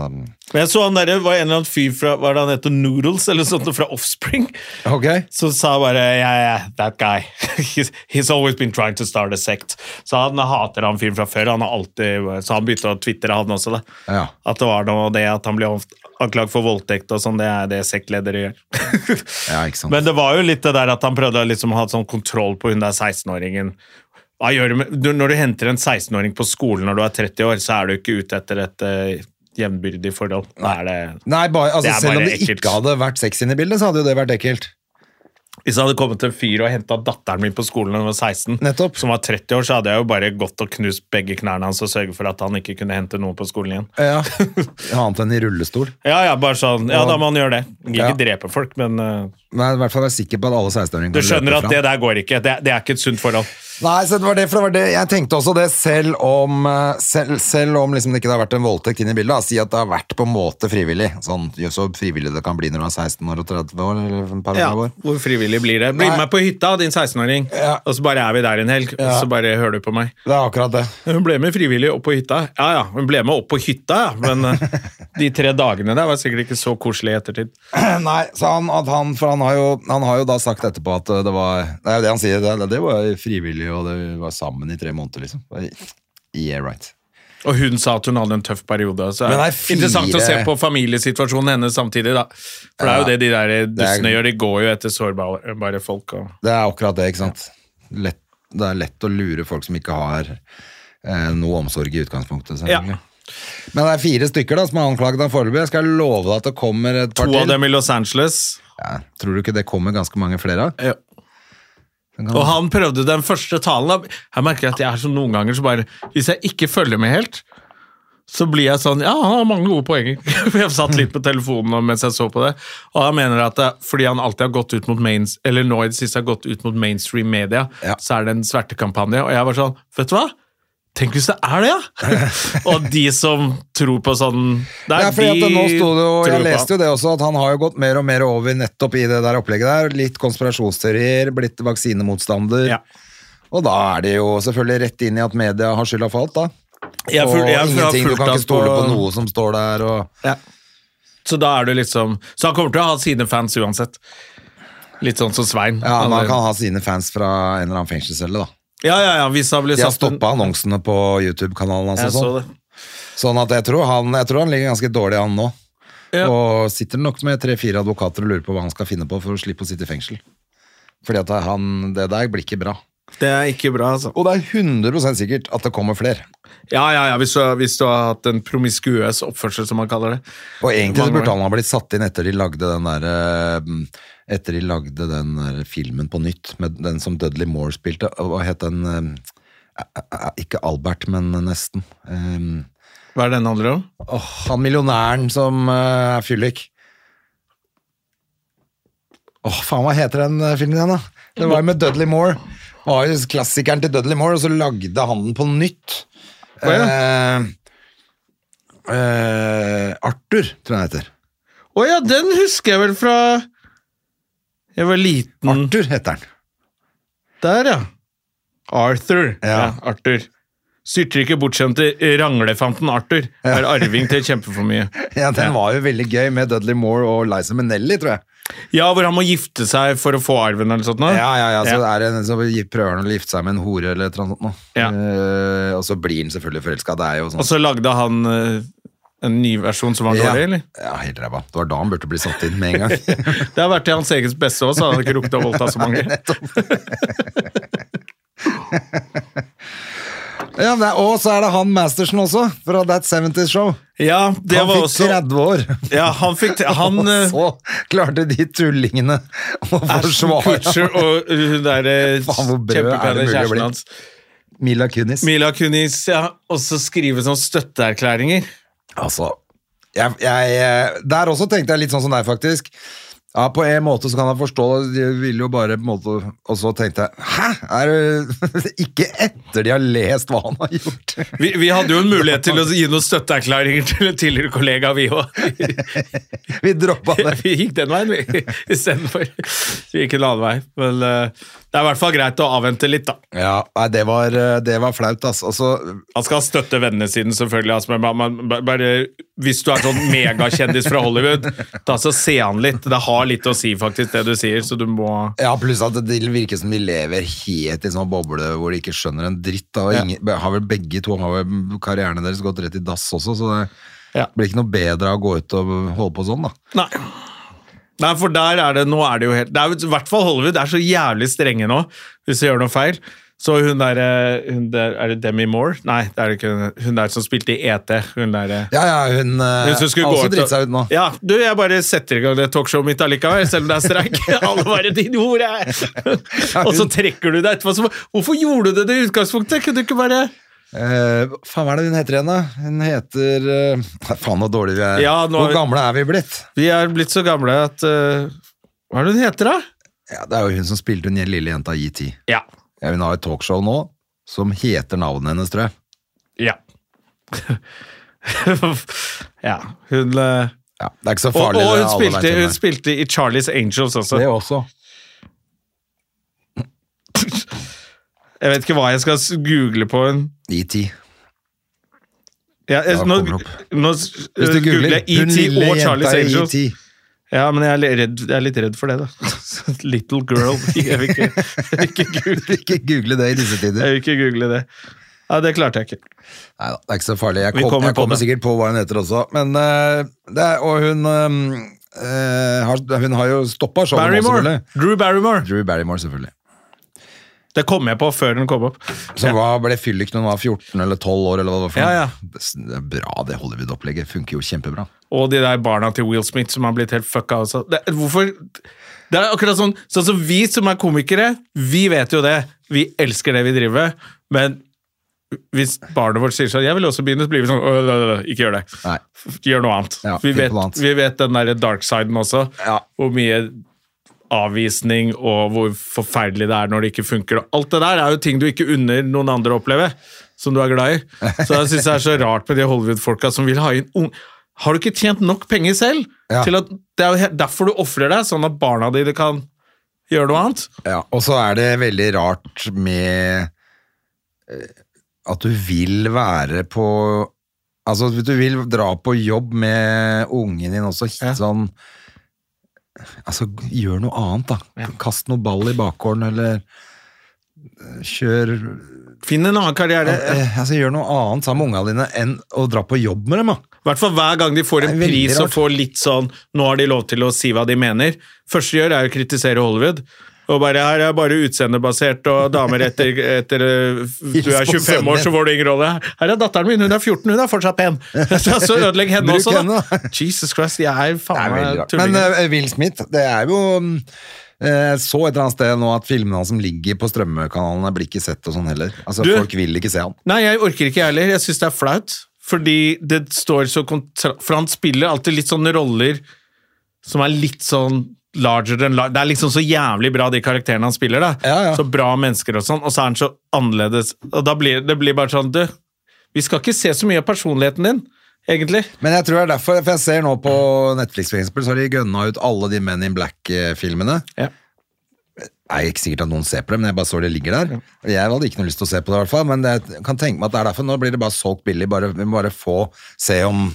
B: Men jeg så han der, var en eller annen fyr fra hva er det han heter, Noodles eller sånt, fra Offspring,
A: ok,
B: som sa bare yeah, yeah, that guy. He's, he's always been trying to start a sect. Så han hater han fyren fra før, han har alltid, så han begynte å twittere han også. da.
A: ja.
B: At det var noe det at han ble anklagd for voldtekt og sånn, det er det sektledere gjør.
A: ja, ikke sant.
B: Men det var jo litt det der at han prøvde å liksom ha sånn kontroll på hun der 16-åringen. Hva gjør du med, du, når du henter en 16-åring på skolen når du er 30 år, så er du ikke ute etter et uh, jevnbyrdig forhold. Da er det,
A: Nei, bare,
B: Det
A: altså,
B: er
A: selv
B: bare
A: om det
B: ekkelt.
A: ikke hadde vært sex inne i bildet, så hadde jo det vært ekkelt.
B: hvis det hadde kommet en fyr og henta datteren min på skolen da hun var 16,
A: Nettopp.
B: som var 30 år, så hadde jeg jo bare gått og knust begge knærne hans og sørget for at han ikke kunne hente noen på skolen igjen.
A: Ja. Annet enn i rullestol.
B: Ja, ja, bare sånn. Ja, da må han gjøre det. Ikke
A: Ja.
B: drepe folk, men eh,
A: Men i hvert fall være sikker på at alle 16-åringer
B: du
A: kan
B: skjønner
A: løpe
B: at
A: fra.
B: det der går ikke. Det, det er ikke et sunt forhold.
A: Nei, så det var det, for det var det. Jeg tenkte også det, selv om, eh, selv, selv om liksom det ikke har vært en voldtekt inn i bildet, da, si at det har vært på en måte frivillig. Sånn, jo, så frivillig det kan bli når du er 16 år og 30 år, eller et par
B: Ja,
A: år.
B: hvor frivillig blir det? Bli
A: Nei.
B: med på hytta, din 16-åring,
A: Ja.
B: og så bare er vi der en helg, og
A: Ja.
B: så bare hører du på meg.
A: Det er akkurat det.
B: Hun ble med frivillig opp på hytta. Ja, ja, hun ble med opp på hytta, ja, men eh, de tre dagene der var sikkert ikke så koselig i ettertid.
A: Nei, så han, at han, for han har, jo, han har jo da sagt etterpå at eh, det var Det er jo det han sier, det, det var frivillig, og det var sammen i tre måneder, liksom. Yeah, right.
B: Og hun sa at hun hadde en tøff periode, så
A: Men
B: det
A: det er
B: er interessant å se
A: fire-
B: på familiesituasjonen hennes samtidig, da. For det er jo det de der
A: Det
B: dussene
A: er-
B: gjør, de går jo etter sårbare bare folk. Og...
A: Det er akkurat det, ikke sant? Lett, det er lett å lure folk som ikke har eh, noe omsorg i utgangspunktet, selvfølgelig.
B: Ja.
A: Men det er fire stykker da som er anklaget av foreløpig. Jeg skal love deg at det kommer et par
B: To av
A: til.
B: dem i Los Angeles. eh,
A: Ja, tror du ikke det kommer ganske mange flere av?
B: Ja. Og han prøvde den første talen. da. Jeg merker at jeg er som noen ganger så bare Hvis jeg ikke følger med helt, så blir jeg sånn Ja, han har mange gode poenger. For jeg satt litt på telefonen nå mens jeg så på det. Og han mener at det, fordi han alltid har gått ut mot mains, eller nå i det siste har gått ut mot mainstream media,
A: Ja.
B: så er det en svertekampanje. Og jeg var sånn Vet du hva? Tenk hvis det er det, ja! og de som tror på sånn Det er
A: Ja, fordi at
B: de
A: nå sto det jo,
B: tror
A: jeg
B: på.
A: leste jo det også, at han har jo gått mer og mer over nettopp i det der opplegget der. Litt konspirasjonsteorier, blitt vaksinemotstander.
B: Ja.
A: Og da er det jo selvfølgelig rett inn i at media har skylda for alt, da.
B: Jeg
A: og
B: ful- jeg har
A: ingenting, du
B: fulgt
A: kan
B: han
A: ikke stole på noe som står der, og...
B: Ja. Så da er du liksom Så han kommer til å ha sine fans uansett. Litt sånn som Svein.
A: Ja, men han
B: Han-
A: kan ha sine fans fra en eller annen fengselscelle, da.
B: ja, ja, ja, hvis han blir
A: De har
B: satt
A: stoppa annonsene på YouTube-kanalen hans.
B: Jeg
A: og
B: så
A: sånn.
B: det.
A: Sånn at jeg tror, han, jeg tror han ligger ganske dårlig an nå.
B: Ja.
A: Og sitter nok med tre-fire advokater og lurer på hva han skal finne på for å slippe å sitte i fengsel. Fordi at han, det der blir ikke bra.
B: Det er ikke bra, altså.
A: Og det er 100 sikkert at det kommer flere.
B: Ja, ja, ja, hvis du, hvis du har hatt en promiskuøs oppførsel, som man kaller det.
A: Og egentlig
B: Mange
A: så burde
B: år.
A: han ha blitt satt inn etter de lagde den der eh, Etter de lagde den der filmen på nytt, med den som Dudley Moore spilte. Hva het den eh, eh, eh, Ikke Albert, men nesten. Eh,
B: Hva er det den handler om?
A: Åh, han millionæren som eh, er fyllik. Åh, faen, hva heter den eh, filmen igjen, da? Det var jo med Dudley Moore. Det var jo klassikeren til Dudley Moore, og så lagde han den på nytt. Eh, eh, Arthur, tror jeg han heter.
B: Å ja, den husker jeg vel fra jeg var liten.
A: Arthur heter han.
B: Der, ja. Arthur. Ja,
A: Ja.
B: Arthur. Styrter ikke bortskjemte ranglefanten Arthur. Er arving til kjempeformue.
A: Ja, den var jo veldig gøy med Dudley Moore og Liza Minnelli, tror jeg.
B: Ja, hvor han må gifte seg for å få arven eller sånt nå.
A: Ja, ja, ja, så
B: Ah. Ja.
A: er det en som prøver han å gifte seg med en hore eller et eller annet sånt nå.
B: Ja.
A: Eh, og så blir han selvfølgelig forelska, det er jo sånn.
B: Og så lagde han eh, en ny versjon som var dårlig, eller?
A: Ja, helt ræva. Det var da han burde bli satt inn med en gang.
B: Det har vært til hans eget beste også, så han hadde ikke rukket å voldta så mange.
A: ja, men det er, og så er det han Mastersen også, fra That 70's Show.
B: Ja, det
A: han
B: var
A: fikk
B: også...
A: 30 år,
B: Ja, han fikk... Han,
A: og
B: eh,
A: så klarte de tullingene å
B: Ashton
A: forsvare
B: Kutcher og hun der eh,
A: Faen, hvor brød er det mulig å bli?
B: kjempepene kjæresten hans.
A: Mila Kunis.
B: Mila Kunis, ja. Og så skrive sånn støtteerklæringer.
A: Altså, jeg, jeg, eh, der også tenkte jeg litt sånn som deg, faktisk. Ja, På en måte så kan jeg forstå det, de ville jo bare på en måte Og så tenkte jeg Hæ? Er det ikke etter de har lest hva han har gjort?
B: Vi, vi hadde jo en mulighet til å gi noen støtteerklæringer til en tidligere kollega, vi også.
A: Vi droppa det.
B: Vi gikk den veien, vi, istedenfor. Vi gikk en annen vei. Men eh, Det er i hvert fall greit å avvente litt, da.
A: Ja, nei, det var, eh, det var flaut, ass. Altså,
B: Han skal støtte vennene sine, selvfølgelig. Altså, men man, man- bare, hvis du er sånn megakjendis fra Hollywood, da så se han litt. Det har litt å si, faktisk, det du sier, så du må
A: Ja, pluss at det virker som de lever helt i sånn boble hvor de ikke skjønner en dritt. Da. Og
B: Ja.
A: ingen, har vel begge to har vel karrierene deres gått rett i dass også, så det
B: Ja.
A: blir ikke noe bedre av å gå ut og holde på sånn, da.
B: Nei. Nei, for der er det Nå er det jo helt det er, jo- I hvert fall Hollywood er så jævlig strenge nå, hvis du gjør noe feil. Så hun der, eh, hun der Er det Demi Moore? Nei, det er det ikke. Hun der som spilte i ET. Hun der eh,
A: Ja, ja, hun eh,
B: Hun som skulle
A: har
B: gå
A: også
B: ut
A: dritt
B: og-
A: seg ut nå.
B: Ja, du, jeg bare setter i gang det talkshowet mitt allikevel, selv om det er streik. Alle bare din hore! er-" Og så trekker du deg etterpå. Så, hvorfor gjorde du det i utgangspunktet? Kunne du ikke bare
A: Eh, faen, hva er det hun heter igjen, da? Hun heter eh, nei, Faen, så dårlig vi er.
B: Ja, nå-
A: Hvor gamle er vi blitt?
B: Vi er blitt så gamle at eh, Hva er det hun heter, da?
A: Ja, det er jo hun som spilte hun lille jenta i JT.
B: Ja.
A: Ja, hun har et talkshow nå som heter navnet hennes, tror jeg.
B: Ja. ja. Hun eh,
A: Ja, det er ikke så
B: Og,
A: farlig. det
B: og hun,
A: alle vet
B: spilte,
A: hvem
B: hun
A: er.
B: spilte i Charlies Angels også.
A: det også.
B: Jeg vet ikke hva jeg skal s- google på henne.
A: JT.
B: Ja, jeg,
A: Ja,
B: nå,
A: kommer opp.
B: nå s-
A: Hvis du googler
B: googler jeg
A: hun
B: ET
A: lille
B: E og Charlies
A: jenta i E
B: Angels.
A: E.T.
B: Ja, men jeg er litt redd, jeg er litt redd for det, da. Little girl. Jeg vil ikke, jeg vil ikke, google,
A: Ikke google det i disse tider.
B: jeg vil ikke google det. Ja, Det klarte jeg ikke.
A: Nei da, det er ikke så farlig. Jeg,
B: Vi
A: kom,
B: kommer
A: jeg
B: på
A: kommer
B: det.
A: sikkert på hva hun heter også. Men, eh, det er, og hun eh, eh, har, Hun har jo stoppa showet nå,
B: Barrymore.
A: selvfølgelig.
B: Drew Barrymore.
A: Drew Barrymore, selvfølgelig.
B: Det kom jeg på før den kom opp.
A: Som var, ble fyllik når hun var 14 eller 12 år, eller hva det var. for
B: Ja,
A: noe.
B: ja.
A: Det er Bra, det Hollywood-opplegget. Funker jo kjempebra.
B: Og de der barna til Will Smith som har blitt helt fucka også. Det, hvorfor Det er akkurat sånn Sånn som vi som er komikere, vi vet jo det. Vi elsker det vi driver med, men hvis barnet vårt sier sånn 'Jeg vil også begynne', så blir vi sånn «Øh, øh, øh, Ikke gjør det.
A: Nei.
B: Gjør noe annet.
A: Ja,
B: vi,
A: finn
B: vet,
A: på noe annet.
B: vi vet den derre dark siden også.
A: Ja.
B: Hvor mye avvisning og hvor forferdelig det er når det ikke funker. og Alt det der er jo ting du ikke unner noen andre å oppleve, som du er glad i. Så jeg syns det er så rart med de Hollywood-folka som vil ha inn ung... Har du ikke tjent nok penger selv?
A: Ja.
B: Til at det er jo he- derfor du ofrer deg, sånn at barna dine kan gjøre noe annet.
A: Ja, og så er det veldig rart med eh, at du vil være på Altså, du vil dra på jobb med ungen din også,
B: Ja.
A: sånn Altså, gjør noe annet, da. Kast noe ball i bakgården, eller eh, kjør
B: Finn en annen karriere.
A: eh, Altså, gjør noe annet sammen med unga dine enn å dra på jobb med dem, da.
B: I hvert fall hver gang de får en
A: Det er veldig
B: pris og
A: rart.
B: får litt sånn Nå har de lov til å si hva de mener. Første de gjør, er å kritisere Hollywood. Og bare her er bare utseendebasert og damer etter, etter eh, Du er 25 år, så får du ingen rolle. Her er datteren min, hun er 14, hun er fortsatt pen! Så ødelegg henne
A: Bruk
B: også, da!
A: henne,
B: Jesus Christ, jeg er
A: Det
B: faen
A: er veldig
B: meg
A: rart. Men
B: tulling.
A: eh, Will Smith, det er jo mm, eh, så et eller annet sted nå at filmene hans som ligger på strømmekanalene, blir ikke sett og sånn heller. Altså,
B: Du-
A: Folk vil ikke se han.
B: Nei, jeg orker ikke jeg heller. Jeg syns det er flaut. Fordi det står så kontra... For han spiller alltid litt sånne roller som er litt sånn larger than large. Det er liksom så jævlig bra, de karakterene han spiller. da.
A: Ja, ja.
B: Så bra mennesker og sånn, og så er han så annerledes. Og da blir det blir bare sånn Du, vi skal ikke se så mye av personligheten din, egentlig.
A: Men jeg tror det er derfor, for jeg ser nå på Netflix for eksempel, så har de gønna ut alle de Men in Black-filmene.
B: Ja.
A: Det er ikke sikkert at noen ser på det, men jeg bare så det ligger der. Og Jeg hadde ikke noe lyst til å se på det i hvert fall, men jeg kan tenke meg at det er derfor. Nå blir det bare solgt billig, bare, vi må bare få se om,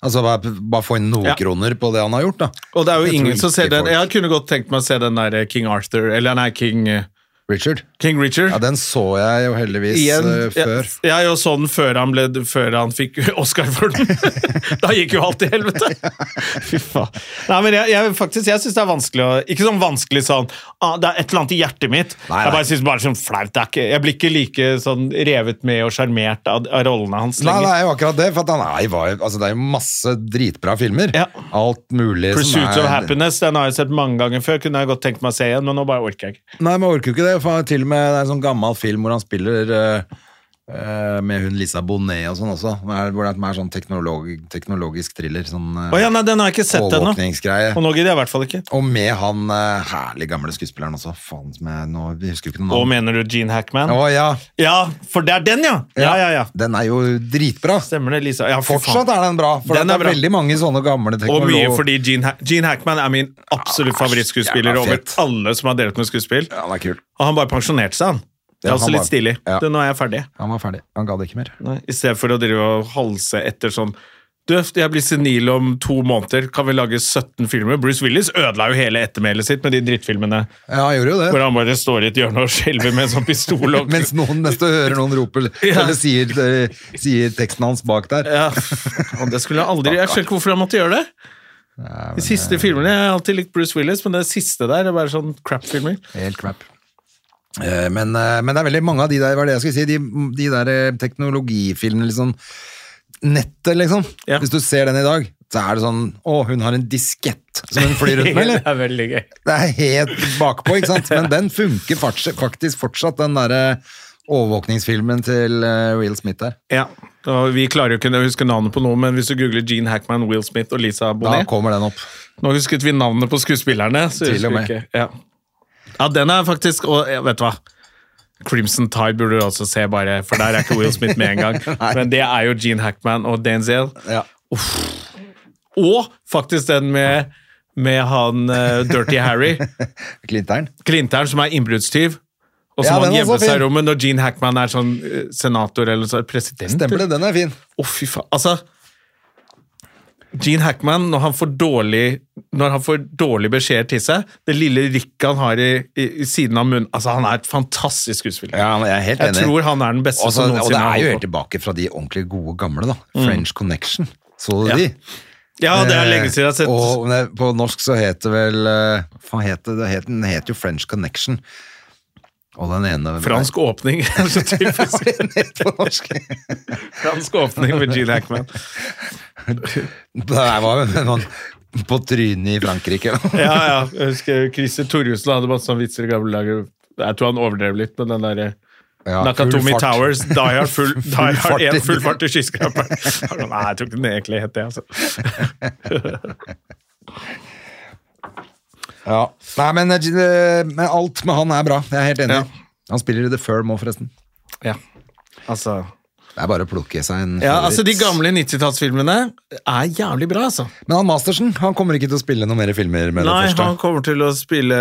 A: altså bare, bare få inn noen
B: Ja.
A: kroner på det han har gjort da.
B: Og det er
A: Jeg
B: jo
A: tror
B: ingen som
A: ikke
B: ser den.
A: folk-
B: Jeg kunne godt tenkt meg å se den der eh, King Arthur, eller nei, King, eh,
A: Richard?
B: King Richard.
A: Ja, den så jeg jo heldigvis
B: Igjen,
A: eh, før.
B: Jeg, jeg jo sånn før han, ble, før han fikk Oscar for den. da gikk jo alt til helvete! Fy faen. Nei, men jeg, jeg, faktisk, jeg syns det er vanskelig å Ikke sånn vanskelig sånn ah, Det er et eller annet i hjertet mitt.
A: Nei,
B: Jeg
A: nei.
B: bare synes bare sånn flaut. det er ikke- Jeg blir ikke like sånn revet med og sjarmert av, av rollene hans
A: Nei, det
B: lenger.
A: er jo akkurat det, for at han er, var, jo- altså, det er jo masse dritbra filmer.
B: Ja.
A: Alt mulig som er...
B: Pursuit of Happiness den har jeg sett mange ganger før. Kunne jeg godt tenkt meg å se igjen, men nå bare orker jeg ikke.
A: Nei, men jeg orker jo ikke det. For til og med det er en sånn gammel film hvor han spiller eh, eh, med hun Lisa Bonet og sånn også. Hvor det er- hvor det er mer sånn teknolog, teknologisk thriller. Sånn eh,
B: Å ja, nei, den har jeg ikke sett ennå.
A: overvåkningsgreie.
B: Og nå gidder jeg i hvert fall ikke.
A: Og med han eh, herlig gamle skuespilleren også. Faen som jeg nå jeg husker jo ikke
B: Og
A: noe navn.
B: mener du Gene Hackman?
A: Å ja.
B: Ja, for det er den, ja! Ja, ja, ja.
A: Den er jo dritbra.
B: Stemmer det, Lisa. Ja, fy
A: Fortsatt
B: faen.
A: er den bra, for
B: Den
A: det
B: er
A: er
B: bra.
A: veldig mange sånne gamle
B: Og mye
A: teknologer.
B: fordi Gene, Hack- Gene Hackman er min absolutt
A: jævla
B: favorittskuespiller over
A: Ah, fett.
B: alle som har delt med skuespill.
A: Ja, han er kul.
B: Og han bare pensjonerte seg, han. Det
A: Ja,
B: er
A: han
B: også litt
A: bare-
B: stilig.
A: ja.
B: Det, nå er jeg ferdig.
A: Han var ferdig. Han gadd ikke mer.
B: I stedet for å drive og halse etter sånn Du, jeg blir senil om to måneder, kan vi lage 17 filmer? Bruce Willis ødela jo hele ettermælet sitt med de drittfilmene
A: Ja, han gjorde jo
B: hvor
A: det.
B: han bare står i et hjørne og skjelver med en sånn pistol og
A: Mens noen nesten hører noen roper
B: Ja.
A: eller sier, eh, sier teksten hans bak der.
B: Ja, og det skulle jeg aldri Jeg skjønner ikke hvorfor jeg måtte gjøre det.
A: eh,
B: De siste filmene Jeg har alltid likt Bruce Willis, men det siste der er bare sånn crap-filmer.
A: Helt crap. Eh, Men, eh, men det er veldig mange av de der, hva er det jeg skulle si, de, de der eh, teknologifilmene, liksom, nettet liksom.
B: Ja.
A: Hvis du ser den i dag, så er det sånn, å, hun har en diskett som hun flyr rundt med,
B: Det
A: eller?
B: er veldig gøy.
A: Det er helt bakpå, ikke sant? Men den funker farts- faktisk fortsatt, den der eh, overvåkningsfilmen til eh, Will Smith der.
B: Ja, og Vi klarer jo ikke å huske navnet på noe, men hvis du googler Gene Hackman, Will Smith og Lisa
A: Da
B: Bonet
A: kommer den opp.
B: Nå husket vi navnet på skuespillerne. Så
A: Til og
B: husker vi
A: med.
B: ikke- Ja. ja, den er faktisk Og ja, vet du hva? Crimson Tide burde du også se, bare, for der er ikke Will Smith med engang. Men det er jo Gene Hackman og Denzel.
A: Ja.
B: Og faktisk den med, med han eh, Dirty Harry.
A: Klinteren.
B: Klinteren som er innbruddstyv. Og
A: Ja,
B: som
A: den
B: han
A: er
B: gjemmer
A: så
B: seg i
A: fin.
B: rommet når Gene Hackman er sånn eh, senator eller så, president.
A: Stempelet, den er fin.
B: Å, fy faen. Altså Gene Hackman, når han får dårlig Når han får dårlig beskjeder til seg Det lille rykket han har i, i, i siden av munnen Altså, han er et fantastisk skuespiller.
A: Ja, men jeg er helt
B: jeg
A: enig.
B: tror han er den beste
A: Også,
B: som
A: og
B: noensinne
A: det er jo
B: har
A: helt
B: holdt på.
A: tilbake fra de ordentlig gode gamle, da. French Connection. Så du
B: Ja.
A: de?
B: Ja, det er lenge siden jeg har sett.
A: Eh, Og ne, på norsk så heter vel eh, Hva heter det? Het- Den heter jo French Connection. Og den ene
B: Fransk åpning er så typisk.
A: Den heter på norsk.
B: Fransk åpning med Gene Hackman.
A: Det her var jo noen på trynet i Frankrike.
B: Ja, ja. Jeg husker Christer Thorjussen hadde masse sånne vitser i gamle dager. Jeg tror han overdrev litt med den derre
A: Ja,
B: Nakatomi
A: full fart.
B: Towers, Die Hard, full, die
A: Full fart
B: hard
A: i-
B: 1, full fart i skyskraperen. Nei, jeg tror ikke den egentlig het det, altså.
A: Ja. Nei, men, eh, men alt med han er bra. Jeg er helt enig.
B: Ja.
A: Han spiller i The Firm òg, forresten.
B: Ja, altså.
A: Det er bare å plukke seg en
B: Ja,
A: favoritt.
B: altså De gamle 90-tallsfilmene er jævlig bra, altså.
A: Men han Mastersen han kommer ikke til å spille noen mer filmer med
B: Nei,
A: det første.
B: han kommer til å spille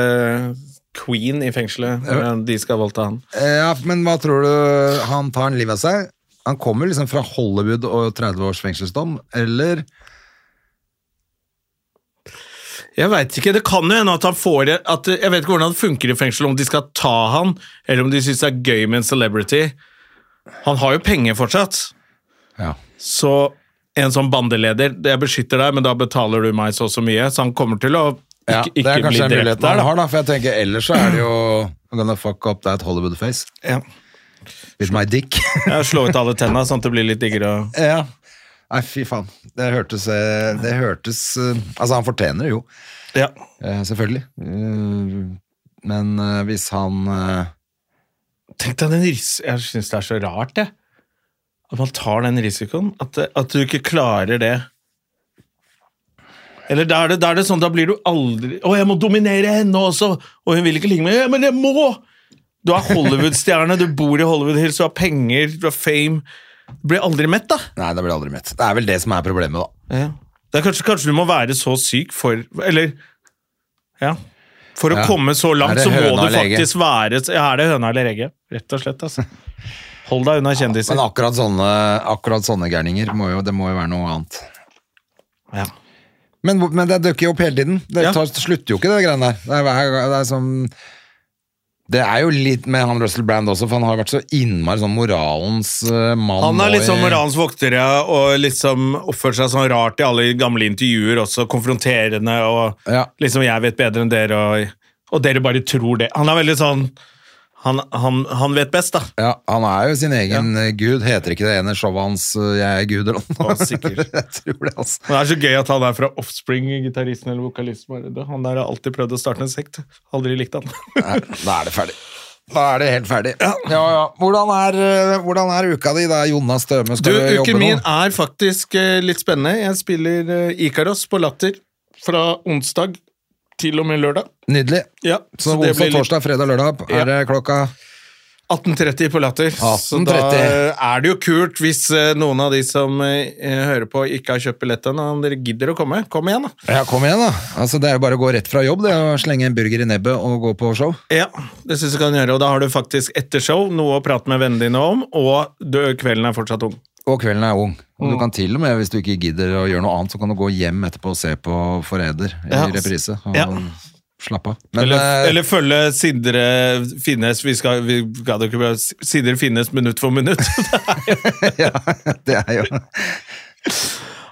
B: Queen i fengselet. men De skal voldta han.
A: Eh, Ja, men hva tror du han tar en liv av seg? Han kommer liksom fra Hollywood og 30 års fengselsdom, eller
B: Jeg veit ikke. Det kan jo hende at han får det at, Jeg vet ikke hvordan det funker i fengsel, om de skal ta han, eller om de syns det er gøy med en celebrity. Han har jo penger fortsatt,
A: Ja.
B: så en sånn bandeleder Jeg beskytter deg, men da betaler du meg så og så mye, så han kommer til å ikke,
A: Ja, det
B: ikke
A: er
B: bli
A: kanskje en
B: drept
A: mulighet han
B: der.
A: har, da, for jeg tenker ellers så er det jo I'm gonna fuck up that Hollywood face
B: Da. Ja.
A: with my dick.
B: Jeg har slå ut alle tenna, sånn at det blir litt diggere å
A: ja. Nei, fy faen. Det hørtes, eh, det hørtes eh, Altså, han fortjener det jo,
B: ja.
A: eh, selvfølgelig. Eh, Men eh, hvis han eh,
B: Tenk deg den ris... Jeg syns det er så rart, jeg. At man tar den risikoen. At, det- at du ikke klarer det. Eller da er det, da er det sånn, da blir du aldri Å, jeg må dominere henne også! Og hun vil ikke ligge med meg. Ja, men jeg må! Du er Hollywood-stjerne, du bor i Hollywood Hills, du har penger, du har fame. Du blir aldri mett, da.
A: Nei, det blir aldri mett. Det er vel det som er problemet, da.
B: Det er kanskje, kanskje du må være så syk for Eller Ja. For å
A: Ja.
B: komme så
A: Er
B: langt,
A: det
B: så må
A: høna
B: du
A: eller egget?
B: faktisk være ja, Er det høna eller egget? Rett og slett, altså. Hold deg unna kjendiser.
A: Men akkurat sånne, akkurat sånne gærninger må jo, det må jo være noe annet.
B: Ja.
A: Men, hvor- men det dukker jo opp hele tiden. Det
B: Ja.
A: tar, slutter jo ikke, det greiene der. Det er, hver- det er som Det er jo litt med han Russell Brand også, for han har vært så innmari sånn moralens eh, mann.
B: Han er
A: nå
B: liksom
A: i-
B: moralens vokter ja, og liksom oppfører seg sånn rart i alle gamle intervjuer også, konfronterende og
A: Ja.
B: liksom 'jeg vet bedre enn dere', og, og dere bare tror det. Han er veldig sånn Han, han, han vet best, da.
A: Ja, han er jo sin egen eh, gud. Heter ikke det ene showet hans eh, 'Jeg er gud' eller noe?
B: Å, sikkert.
A: Jeg tror det, altså.
B: Men Det er så gøy at han er fra Offspring, gitaristen eller vokalisten. bare, du, Han der har alltid prøvd å starte en sekt. Aldri likt han.
A: Nei, da er det ferdig. Da er det helt ferdig. Ja, ja. Hvordan, er, eh, hvordan er uka di? Det er Jonas Støme.
B: Du,
A: Skal du, jobbe
B: uken min
A: nå?
B: er faktisk eh, litt spennende. Jeg spiller eh, Ikaros på Latter fra onsdag til og med lørdag.
A: Nydelig.
B: Ja,
A: Så,
B: det
A: onsdag,
B: blir litt-
A: torsdag, fredag, lørdag er det klokka
B: 18.30 på Latter. Så
A: 18.30.
B: da eh, er det jo kult hvis eh, noen av de som eh, hører på, ikke har kjøpt billett ennå. Om dere gidder å komme, kom igjen, da.
A: Ja, kom igjen, da. Altså, det er jo bare å gå rett fra jobb, det. å Slenge en burger i nebbet og gå på show.
B: Ja, det syns jeg kan gjøre. Og da har du faktisk etter show noe å prate med vennene dine om, og du, kvelden er fortsatt ung.
A: Og kvelden er ung. Og du kan til og med, hvis du ikke gidder å gjøre noe annet, så kan du gå hjem etterpå og se på Forræder i
B: Ja.
A: reprise. Og
B: Ja.
A: slappe av. Men
B: eller,
A: eh,
B: eller følge Sindre Finnes vi skal, vi gadd ikke bare- Sindre Finnes minutt for minutt.
A: ja, det er jo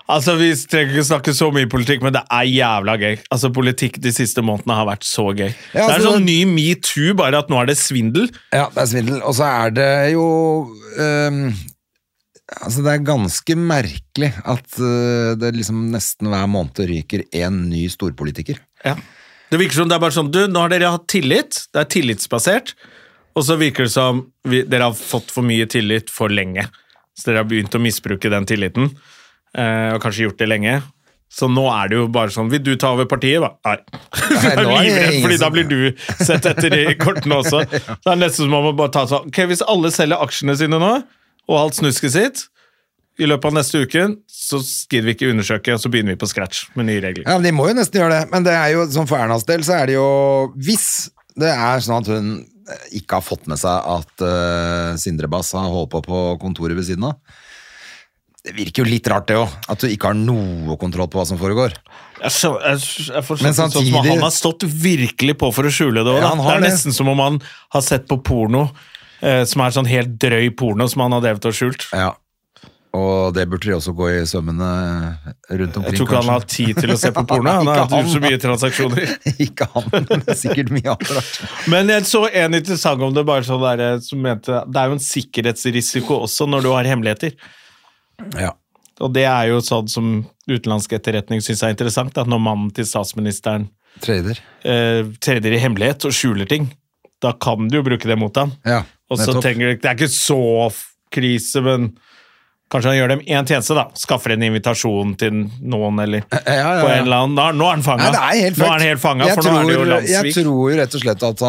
B: altså, Vi trenger ikke snakke så mye politikk, men det er jævla gøy. Altså, Politikk de siste månedene har vært så gøy.
A: Ja,
B: det er
A: altså,
B: sånn ny metoo, bare at nå er det svindel.
A: Ja, det er svindel. Og så er det jo ehm, Altså, det er ganske merkelig at eh, det liksom nesten hver måned ryker én ny storpolitiker.
B: Ja. Det virker som det er bare sånn Du, nå har dere hatt tillit. Det er tillitsbasert. Og så virker det som vi, dere har fått for mye tillit for lenge. Så dere har begynt å misbruke den tilliten. Eh, og kanskje gjort det lenge. Så nå er det jo bare sånn Vil du ta over partiet, da? Nei. Du
A: Nei,
B: er
A: nå er det
B: livredd,
A: ingen
B: fordi da
A: som-
B: blir du sett etter i kortene også. Det er nesten som om man bare tar sånn Ok, hvis alle selger aksjene sine nå, og alt snusket sitt, i løpet av neste uken, så gidder vi ikke undersøke, og så begynner vi på scratch med nye regler.
A: Ja, men De må jo nesten gjøre det. Men det er jo, som for Ernas del så er det jo Hvis det er sånn at hun ikke har fått med seg at eh, Sindre Bass har holdt på på kontoret ved siden av Det virker jo litt rart, det òg. At du ikke har noe kontroll på hva som foregår.
B: Jeg, skjø- jeg, skjø- jeg får
A: Men
B: sånn sånn som
A: samtidig-
B: Han har stått virkelig på for å skjule det. også,
A: Ja,
B: da.
A: han
B: det
A: har
B: er
A: det.
B: nesten som om han har sett på porno eh, som er sånn helt drøy porno som han har drevet og skjult.
A: Ja. Og det burde de også gå i sømmene rundt omkring.
B: Jeg tror ikke han
A: kanskje.
B: har tid til å se på porno. Han har
A: Ikke han,
B: hatt så
A: da.
B: mye transaksjoner.
A: Ikke han, men det er sikkert mye annet rart.
B: Men jeg så en interessant om det, bare sånn der, som mente Det er jo en sikkerhetsrisiko også når du har hemmeligheter.
A: Ja.
B: Og det er jo sånn som utenlandsk etterretning syns er interessant, at når mannen til statsministeren
A: Trader.
B: eh, treder i hemmelighet og skjuler ting, da kan du jo bruke det mot ham.
A: Ja,
B: Og så
A: nettopp.
B: tenker du, Det er ikke så f- krise, men kanskje han gjør dem én tjeneste. da, Skaffer en invitasjon til noen eller
A: ja, ja, ja.
B: på en eller annen. Da, nå er han fanga!
A: Nei, det er helt
B: Nå
A: fucked.
B: er han helt fanget,
A: Jeg
B: for nå er det jo
A: tror- Jeg
B: landssvik.
A: tror jo rett og slett at,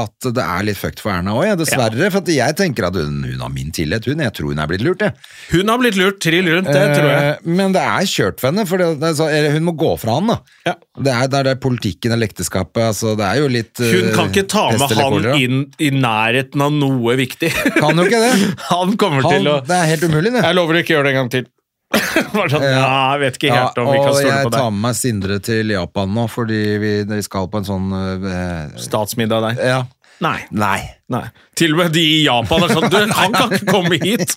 A: at det er litt fucked for Erna òg, dessverre. For at jeg tenker at hun, hun har min tillit, hun. Jeg tror hun er blitt lurt, jeg.
B: Hun har blitt lurt trill rundt, det tror jeg.
A: Eh, Men det er kjørt for henne, for det, det er så, eller hun må gå fra han, da.
B: Ja.
A: Det er, det er det politikken eller ekteskapet, altså det er jo litt eh,
B: Hun kan ikke ta
A: pest
B: med
A: eller
B: han
A: kolera.
B: inn i nærheten av noe viktig.
A: Kan jo ikke det.
B: Han kommer
A: Han,
B: til å
A: det er helt umulig, det.
B: Jeg lover å ikke gjøre det en gang til. Bare sånn, ja, jeg vet ikke helt om vi
A: og
B: kan stole
A: jeg
B: på
A: tar
B: deg.
A: med meg Sindre til Japan nå, fordi vi, vi skal på en sånn eh,
B: Statsmiddag der.
A: Ja.
B: Nei.
A: Nei.
B: Nei. Til og med de i Japan er sånn Du, han kan ikke komme hit!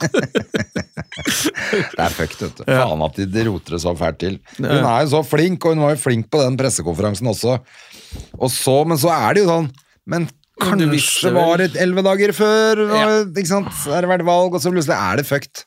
A: Det er fucked, vet du. Faen at de- de roter det så fælt til. Hun er jo så flink, og hun var jo flink på den pressekonferansen også. Og så, men så er det jo sånn Men
B: Men du visste
A: kanskje
B: vel.
A: var det elleve dager før, og,
B: Ja.
A: ikke sant? Så har det vært valg, og så plutselig er det fucked.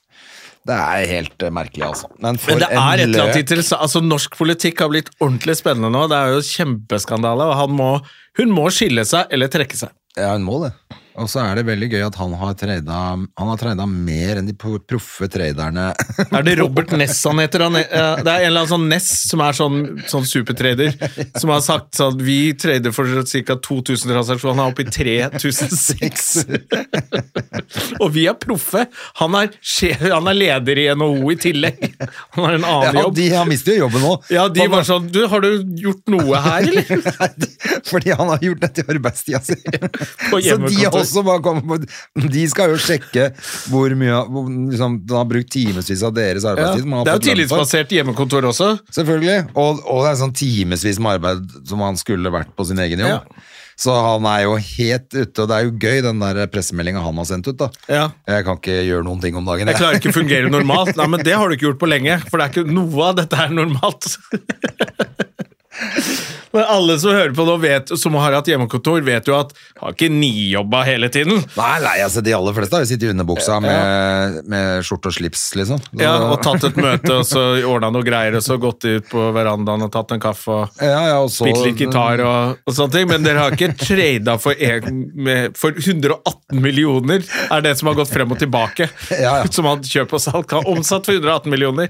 A: Det er helt eh, merkelig, altså. Men for
B: Men det er et
A: en
B: eller annet
A: løk.
B: interessant altså Norsk politikk har blitt ordentlig spennende nå. Det er jo kjempeskandale, og han må, hun må skille seg eller trekke seg.
A: Ja, hun må det. Og så er det veldig gøy at han har trada Han har trada mer enn de pro- proffe traderne.
B: Er det Robert Ness han heter? Han, eh, det er en eller annen sånn Ness som er sånn, sånn supertrader, som har sagt sånn Vi trader for ca. 2000 transaksjoner, han er oppe i 3006. Og vi er proffe! Han er, sje- han er leder i NHO i tillegg. Han har en annen
A: Ja,
B: jobb.
A: de, han mister jo jobben nå.
B: Ja, de
A: Han-
B: var sånn Du, har du gjort noe her, eller?
A: Fordi han har gjort dette i arbeidstida si.
B: På
A: Så de
B: hjemmekontor.
A: har også bare kommet på De skal jo sjekke hvor mye hvor, liksom, De har brukt timevis av deres
B: Ja.
A: arbeidstid. man har
B: Det
A: fått
B: er jo
A: lønn for.
B: tillitsbasert hjemmekontor også.
A: Selvfølgelig. Og, og det er sånn timevis med arbeid som han skulle vært på sin egen jobb. Så han er jo helt ute, og det er jo gøy, den der pressemeldinga han har sendt ut, da.
B: Ja.
A: Jeg kan ikke gjøre noen ting om dagen.
B: Jeg klarer ikke å fungere normalt. Nei, men det har du ikke gjort på lenge, for det er ikke noe av dette er normalt. Men alle som hører på nå, vet, som har hatt hjemmekontor, vet jo at har ikke nijobba hele tiden.
A: Nei, nei, altså de aller fleste har jo sittet i underbuksa med, med skjort og slips, liksom. Så-
B: Ja, og tatt et møte, og så ordna noe greier, og så gått ut på verandaen og tatt en kaffe og
A: ja, ja, og så,
B: spilt litt gitar og, og sånne ting. Men dere har ikke trada for, en- med- for 118 millioner, er det som har gått frem og tilbake.
A: Ja, ja.
B: Som han kjøp og salg har omsatt for 118 millioner.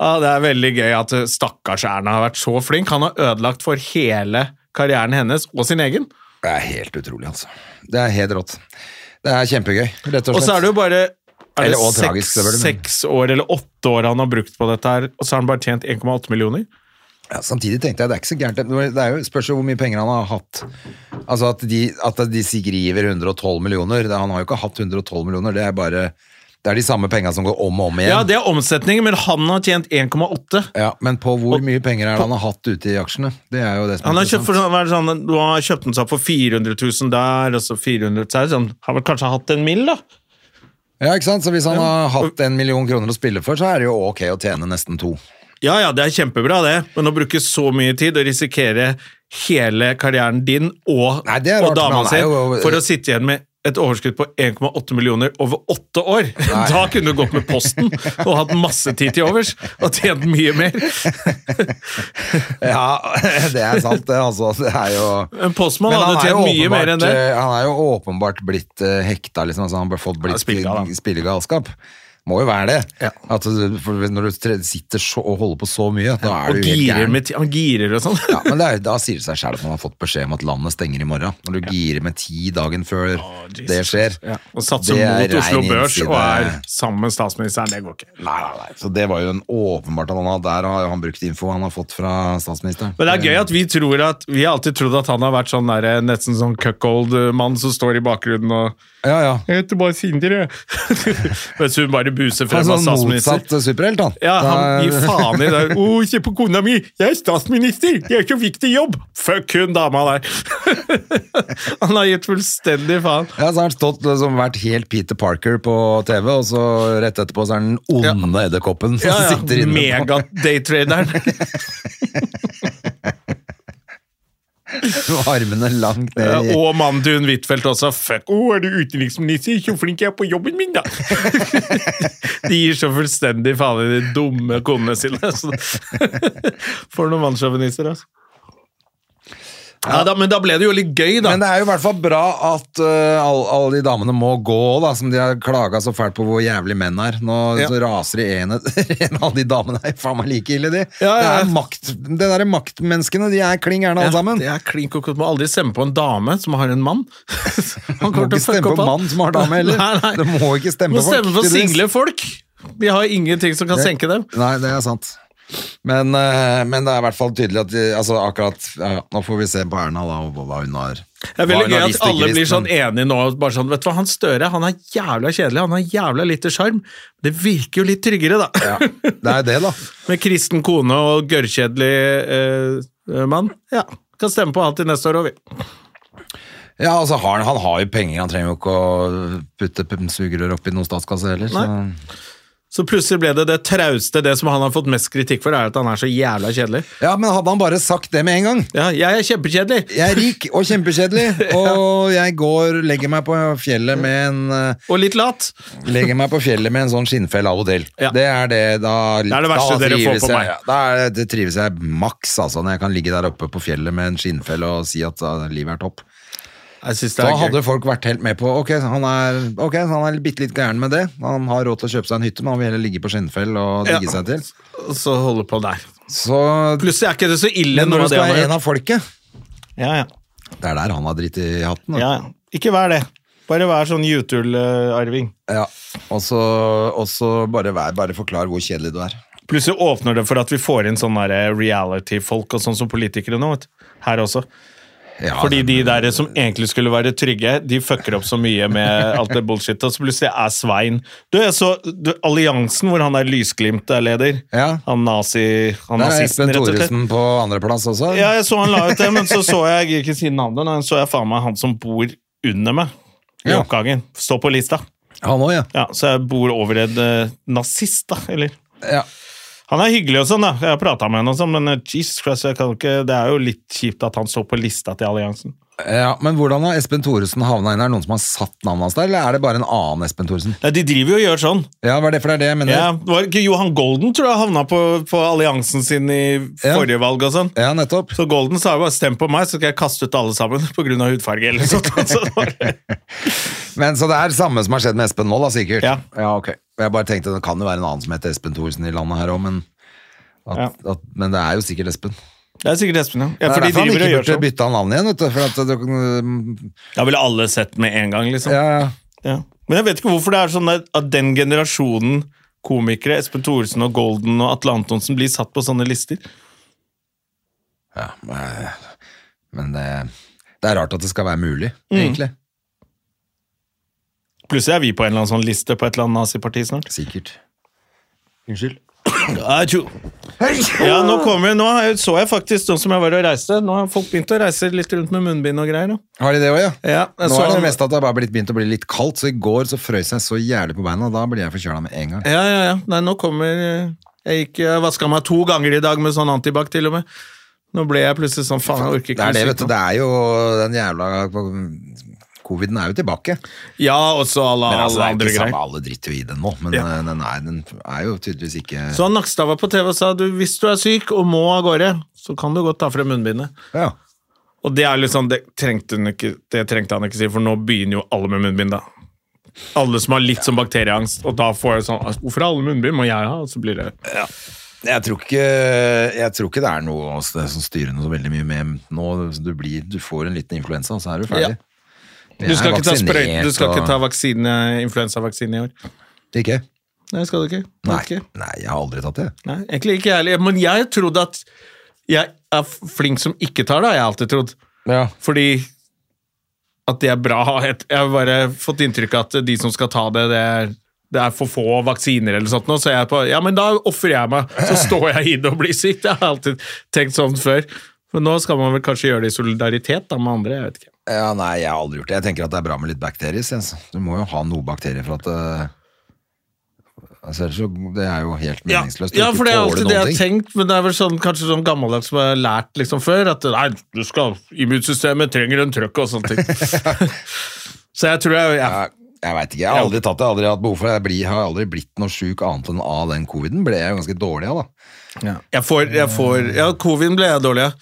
B: Ja, Det er veldig gøy at eh, stakkars Erna har vært så flink. Han har ødelagt for hele karrieren hennes og sin egen.
A: Det er helt utrolig, altså. Det er helt rått. Det er kjempegøy, rett og slett.
B: Og så er det jo bare er
A: Eller
B: det
A: og
B: seks,
A: tragisk, selvfølgelig, men-
B: seks år eller åtte år han har brukt på dette her, og så har han bare tjent 1,8 millioner?
A: Ja, samtidig tenkte jeg det er ikke så gærent. Det var- det er jo, spørs jo hvor mye penger han har hatt. Altså At de, at de skriver 112 millioner det, Han har jo ikke hatt 112 millioner. Det er bare Det er de samme penga som går om og om igjen.
B: Ja, det er omsetningen, men han har tjent 1,8.
A: Ja, Men på hvor mye penger er det han har hatt ute i aksjene? Det er jo det som
B: Han
A: er
B: har kjøpt, for,
A: interessant.
B: hva er det sånn, du har kjøpt den seg opp for 400 000 der, og så 400 000 der. så sånn, Han har vel kanskje hatt en mill, da?
A: Ja, ikke sant? Så hvis han har hatt en million kroner å spille for, så er det jo ok å tjene nesten to.
B: Ja ja, det er kjempebra, det, men å bruke så mye tid og risikere hele karrieren din og,
A: Nei, det er
B: og
A: rart, men
B: dama
A: han er
B: si
A: jo-
B: for å sitte igjen med et overskudd på 1,8 millioner over åtte år. Da kunne du gått med Posten og hatt masse tid til overs og tjent mye mer.
A: Ja, det er sant, det. Altså, det er jo
B: En postmann
A: Men han
B: hadde
A: er jo
B: tjent mye mer enn det.
A: åpenbart, eh, Han er jo åpenbart blitt eh, hekta, liksom. Altså, han har fått blitt
B: spillegal, da.
A: spillegalskap. Må jo være det. At du, for når du tre- sitter så, og holder på så mye, da er du
B: Og
A: jo helt
B: girer
A: gæren.
B: med ti- Han girer og sånn.
A: Ja, men det er, da sier det seg sjøl at man har fått beskjed om at landet stenger i morgen. Når du girer med ti dagen før det skjer.
B: Og satser
A: Det er
B: mot Oslo
A: rein
B: Børs og er
A: innside.
B: sammen med statsministeren. Det går ikke.
A: Nei, nei, nei. Så det var jo en åpenbart at han har Der har jo han brukt info han har fått fra statsministeren.
B: Men det er gøy at vi tror at Vi har alltid trodd at han har vært sånn der, nesten sånn cuckold-mann som står i bakgrunnen og
A: Ja, ja.
B: Jeg heter bare Sinder, jeg. Mens hun bare buser frem
A: Han er
B: av
A: sånn
B: statsminister.
A: motsatt superhelt, han.
B: Ja, han
A: Da-
B: gir faen i det. Å, se på kona mi! Jeg er statsminister! Jeg er så viktig jobb! Fuck hun dama der! han har gitt fullstendig faen.
A: Ja, så har han stått som vært helt Peter Parker på TV, og så rett etterpå så er den onde edderkoppen som
B: Ja,
A: sitter
B: ja.
A: inne på
B: Megadaytraderen.
A: med armene langt ned.
B: Ja,
A: i-
B: Eh, og mannen til hun Huitfeldt også. Fuck, å, er du utenriksminister? Så flink jeg er på jobben min, da! de gir så fullstendig faen i de dumme konene sine. så- For noen mannssjåvinister, altså. Ja, da, men da ble det jo litt gøy, da.
A: Men det er jo i hvert fall bra at eh, all- alle de damene må gå, da, som de har klaga så fælt på hvor jævlig menn er. Nå
B: Ja.
A: så raser de en etter en. Alle de damene er faen meg like ille, de.
B: Ja, ja, ja.
A: Det er makt, det der er maktmenneskene, de er kling gærne alle sammen.
B: Ja, det er klink og kort. Må aldri stemme på en dame som har en mann. Han
A: Du må
B: kommer
A: ikke
B: til å fucke
A: stemme
B: opp
A: på
B: alt.
A: mann som har dame heller.
B: Nei, nei.
A: Du må ikke stemme
B: Må
A: på folk,
B: stemme på
A: tydeligvis.
B: single folk! Vi har ingenting som kan senke dem.
A: Nei, det er sant. Men, eh, men det er i hvert fall tydelig at de, altså akkurat, ja, ja, Nå får vi se på Erna da, og hva hun har
B: Det er veldig
A: hva hun
B: gøy
A: har
B: at
A: visst og ikke
B: alle blir
A: visst,
B: sånn
A: men-
B: enige nå. bare sånn, vet du hva, Han Støre han er jævla kjedelig, han har jævla lite sjarm. Det virker jo litt tryggere, da.
A: ja, Det er jo det, da.
B: Med kristen kone og gørrkjedelig eh, eh, mann. Ja, Kan stemme på han til neste år òg, vi.
A: Ja, altså har han, han har jo penger, han trenger jo ikke å putte p- sugerør opp i noen statskasse heller. Så.
B: Så plutselig ble det det trauste, det som han har fått mest kritikk for, er at han er så jævla kjedelig.
A: Ja, men hadde han bare sagt det med en gang
B: Ja, jeg er kjempekjedelig!
A: Jeg er rik og kjempekjedelig, og jeg går legger meg på fjellet med en eh,
B: Og litt lat.
A: Legger meg på fjellet med en sånn skinnfell av og til.
B: Ja.
A: Det er det da
B: Det er det verste
A: da
B: dere får
A: trives
B: på
A: jeg-
B: meg.
A: ja, Da er det, det trives jeg maks, altså, når jeg kan ligge der oppe på fjellet med en skinnfell og si at ah, livet er topp.
B: Jeg synes det
A: Da
B: er gøy.
A: hadde folk vært helt med på Ok, han er, okay, så han er bitte litt gæren med det. Han har råd til å kjøpe seg en hytte, men han vil heller ligge på skinnfell og digge
B: Ja.
A: seg til.
B: Og så holde på der.
A: Så
B: Plutselig er ikke det så ille
A: Men når
B: nå,
A: du skal
B: det han
A: være
B: har
A: en
B: gjort.
A: av folket
B: Ja, ja.
A: Det er der han har dritt i hatten. da.
B: ja, ja. Ikke vær det. Bare vær sånn Jutul-arving.
A: Ja. Og så og så bare, vær- bare forklar hvor kjedelig du er.
B: Plutselig åpner det for at vi får inn sånne der eh, reality-folk og sånn som politikere nå. Vet. du. Her også.
A: Ja,
B: Fordi de der som egentlig skulle være trygge, de fucker opp så mye med alt det bullshit, og så plutselig er Svein Du, jeg så du, alliansen hvor han der Lysglimt er leder.
A: Ja.
B: Han nazi... Han
A: Der er
B: nazisten,
A: Espen
B: rett og slett.
A: Thoresen på andreplass også.
B: Ja, jeg så han la ut det, men så så jeg jeg gir ikke si navnet, men så jeg faen meg han som bor under meg i
A: Ja.
B: oppgangen. Står på lista.
A: Han òg, ja.
B: Ja, så jeg bor over en eh, nazist, da, eller?
A: ja.
B: Han er hyggelig og sånn, da. Jeg har prata med henne og sånn, men eh, Jesus Christ, jeg kan ikke, det er jo litt kjipt at han står på lista til alliansen.
A: Ja, Men hvordan har Espen Thoresen havna inn her? Noen som har satt navnet hans der, eller er det bare en annen Espen Thoresen?
B: Nei, de driver jo og gjør sånn.
A: Ja, hva er det for det er det, jeg mener?
B: Ja, det var ikke Johan Golden tror jeg havna på, på alliansen sin i forrige valg og sånn.
A: Ja, nettopp.
B: Så Golden sa jo bare 'stem på meg, så skal jeg kaste ut alle sammen' pga. hudfarge eller noe sånt. Så det var-
A: Men Så det er samme som har skjedd med Espen nå, da, sikkert?
B: Ja.
A: ok. Jeg bare tenkte det kan jo være en annen som heter Espen Thoresen i landet her òg, men at,
B: Ja.
A: at, men det er jo sikkert Espen.
B: Det er sikkert Espen, ja. ja
A: Det
B: for
A: er
B: de
A: derfor han
B: driver og
A: ikke
B: gjør
A: burde
B: sånn.
A: bytte av navn igjen, vet du. For at du kan-
B: Da ville alle sett med en gang, liksom.
A: ja, ja.
B: Ja. Men jeg vet ikke hvorfor det er sånn at at den generasjonen komikere, Espen Thoresen og Golden og Atle Antonsen, blir satt på sånne lister.
A: Ja, eh, men det, det er rart at det skal være mulig,
B: Mm.
A: egentlig.
B: Plutselig er vi på en eller annen sånn liste på et eller annet naziparti snart.
A: Sikkert. Unnskyld.
B: Ja, jeg tror- Ja, nå kommer Nå har jeg- så jeg faktisk, nå som jeg var og reiste, nå har folk begynt å reise litt rundt med munnbind og greier. Da.
A: Har de det òg, ja?
B: Ja, jeg
A: Nå
B: så
A: er det
B: han-
A: mest at det har bare blitt begynt å bli litt kaldt, så i går så frøs jeg så jævlig på beina, og da blir jeg forkjøla med en gang.
B: Ja, ja, ja. Nei, nå kommer eh, Jeg gikk, jeg vaska meg to ganger i dag med sånn antibac, til og med. Nå ble jeg plutselig sånn Faen, jeg orker
A: Det
B: ikke
A: er det,
B: noe
A: vet du.
B: sykdom.
A: Det er jo den jævla Coviden er jo tilbake.
B: Ja, og så alle,
A: Men altså, det er
B: alle
A: jo
B: andre
A: ikke
B: greier.
A: samme, alle driter jo i den nå, men
B: Ja.
A: eh, den, er, den er jo tydeligvis ikke
B: Så han Nakstad var på TV og sa du, hvis du er syk og må av gårde, så kan du godt ta frem munnbindet.
A: ja.
B: Og det er liksom, det trengte, hun ikke, det trengte han ikke si, for nå begynner jo alle med munnbind, da. Alle som har litt sånn bakterieangst, og da får jeg sånn «Altså, Hvorfor har alle munnbind? Må jeg ha? Og så blir det
A: Jeg tror, ikke, jeg tror ikke det er noe altså, det som styrer noe så veldig mye med nå. Du, blir, du får en liten influensa, og så er du ferdig.
B: Du skal ikke ta sprøyte, du skal ikke ta vaksine, influensavaksine i år.
A: Ikke?
B: Nei, skal du ikke?
A: Nei.
B: Ikke?
A: Nei, jeg har aldri tatt det.
B: Nei, egentlig ikke jeg heller. Men jeg trodde at jeg er f- flink som ikke tar det, har jeg alltid trodd.
A: Ja.
B: Fordi at det er bra. Jeg har bare fått inntrykk av at de som skal ta det, det er, det er for få vaksiner eller sånt nå, så jeg er på, ja, men da offrer jeg meg, så står jeg i det og blir syk. Det har jeg alltid tenkt sånn før. Men nå skal man vel kanskje gjøre det i solidaritet da, med andre, jeg vet ikke.
A: Nei, jeg har aldri gjort det. Jeg tenker at det er bra med litt bakterier. Jens. Du må jo ha noe bakterier for at eh, altså, ellers så- Det er jo helt
B: Ja,
A: meningsløst.
B: ja, for det er alltid det jeg har
A: tenker
B: tenkt, men det er vel sånn, kanskje sånn gammeldags som jeg har lært liksom før, at nei, du skal, immunsystemet trenger en trøkk og sånne ting. så jeg tror jeg, jeg
A: Jeg vet ikke, jeg har aldri tatt det. Jeg har aldri hatt behov for det. Jeg blir, har aldri blitt noe sjuk annet enn av den coviden. Ble jeg jo ganske dårlig av, da.
B: Jeg får, jeg får Ja, covid ble jeg dårlig av.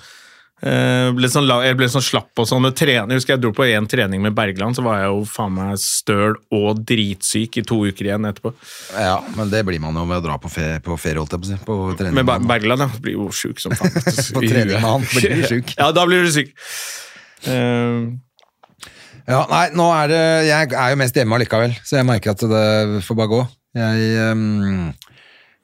B: Eh, ble sånn, la- jeg ble sånn slapp og sånn. og Trening, jeg husker jeg dro på én trening med Bergland, så var jeg jo faen meg støl og dritsyk i to uker igjen etterpå.
A: Ja, men det blir man jo med å dra på, fe på ferie, holdt jeg på å si. På trening.
B: Men Ber Bergland ja, blir jo sjuk som faen.
A: På trening med han blir du sjuk.
B: ja, da blir du syk. Eh,
A: Ja, nei, nå er det Jeg er jo mest hjemme allikevel, så jeg merker at det får bare gå. Jeg ehm,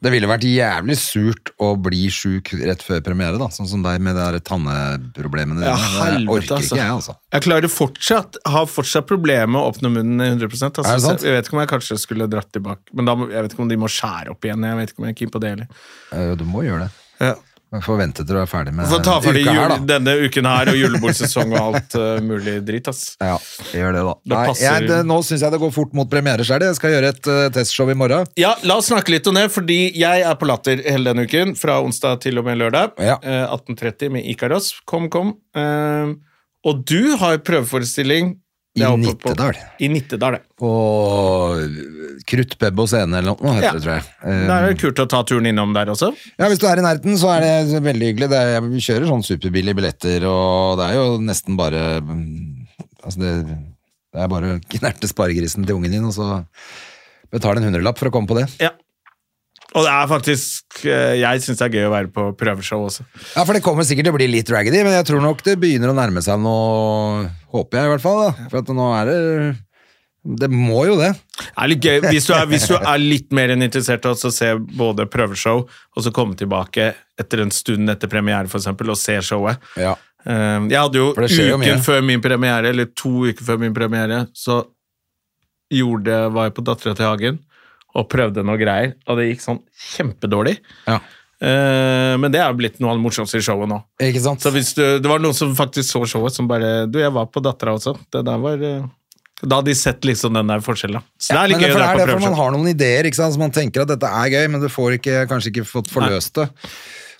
A: Det ville vært jævlig surt å bli sjuk rett før premiere, da. Sånn som deg med de der tanneproblemene dine.
B: ja,
A: jeg
B: helvete,
A: eh, orker
B: altså.
A: ikke, jeg, altså.
B: Jeg klarer fortsatt, har fortsatt problemer med å åpne munnen 100 altså,
A: Er det sant?
B: så Jeg vet ikke om jeg kanskje skulle dratt tilbake, men da, må- jeg vet ikke om de må skjære opp igjen. Jeg vet ikke om jeg er keen på det heller.
A: Eh, Du må gjøre det.
B: Ja.
A: Jeg får vente til du er ferdig med
B: Få ta for deg
A: uka her,
B: jul,
A: da.
B: denne uken her og julebordsesong og alt eh, mulig dritt, ass.
A: Ja, gjør det, da.
B: Da
A: Nei,
B: passer-
A: jeg, det nå syns jeg det går fort mot premiere sjøl. Jeg skal gjøre et eh, testshow i morgen.
B: Ja, la oss snakke litt om det, fordi jeg er på Latter hele denne uken, fra onsdag til og med lørdag.
A: Ja.
B: Eh, 18.30 med Ikaros. Kom, kom. Eh, og du har prøveforestilling det er
A: I
B: oppe på-
A: Nittedal.
B: I Nittedal, ja.
A: På Kruttpub og scene, eller noe heter
B: Ja.
A: det, tror jeg. Eh,
B: Da er det kult å ta turen innom der også.
A: Ja, Hvis du er i nærheten, så er det veldig hyggelig. Det er, vi kjører sånn superbillige billetter, og det er jo nesten bare mm, Altså, det, det er bare å knerte sparegrisen til ungen din, og så betale en hundrelapp for å komme på det.
B: Ja. Og det er faktisk eh, Jeg syns det er gøy å være på prøveshow også.
A: Ja, for det kommer sikkert til å bli litt raggedy, men jeg tror nok det begynner å nærme seg noe Håper jeg, i hvert fall. da. For at nå er det Det må jo det.
B: Det er litt gøy. Hvis du er, hvis du er litt mer enn interessert i å se både prøveshow og så komme tilbake etter en stund etter premiere for eksempel, og se showet.
A: Ja.
B: Um, Jeg hadde jo
A: For det skjer jo
B: uken
A: mye.
B: før min premiere, eller to uker før min premiere, så gjorde, var jeg på Dattera til Hagen og prøvde noe greier, og det gikk sånn kjempedårlig.
A: ja.
B: Eh, Men det er jo blitt noe av det morsomste i showet nå.
A: Ikke sant?
B: Så hvis du, det var noen som faktisk så showet, som bare Du, jeg var på Dattera også. Det der var eh, Da hadde de sett liksom den der forskjellen. da. Så det er
A: Men
B: litt
A: det,
B: gøy å
A: for det
B: dra
A: er
B: på
A: derfor man
B: prøveshow.
A: har noen ideer, ikke sant? så man tenker at dette er gøy, men du får ikke, kanskje ikke fått forløst det.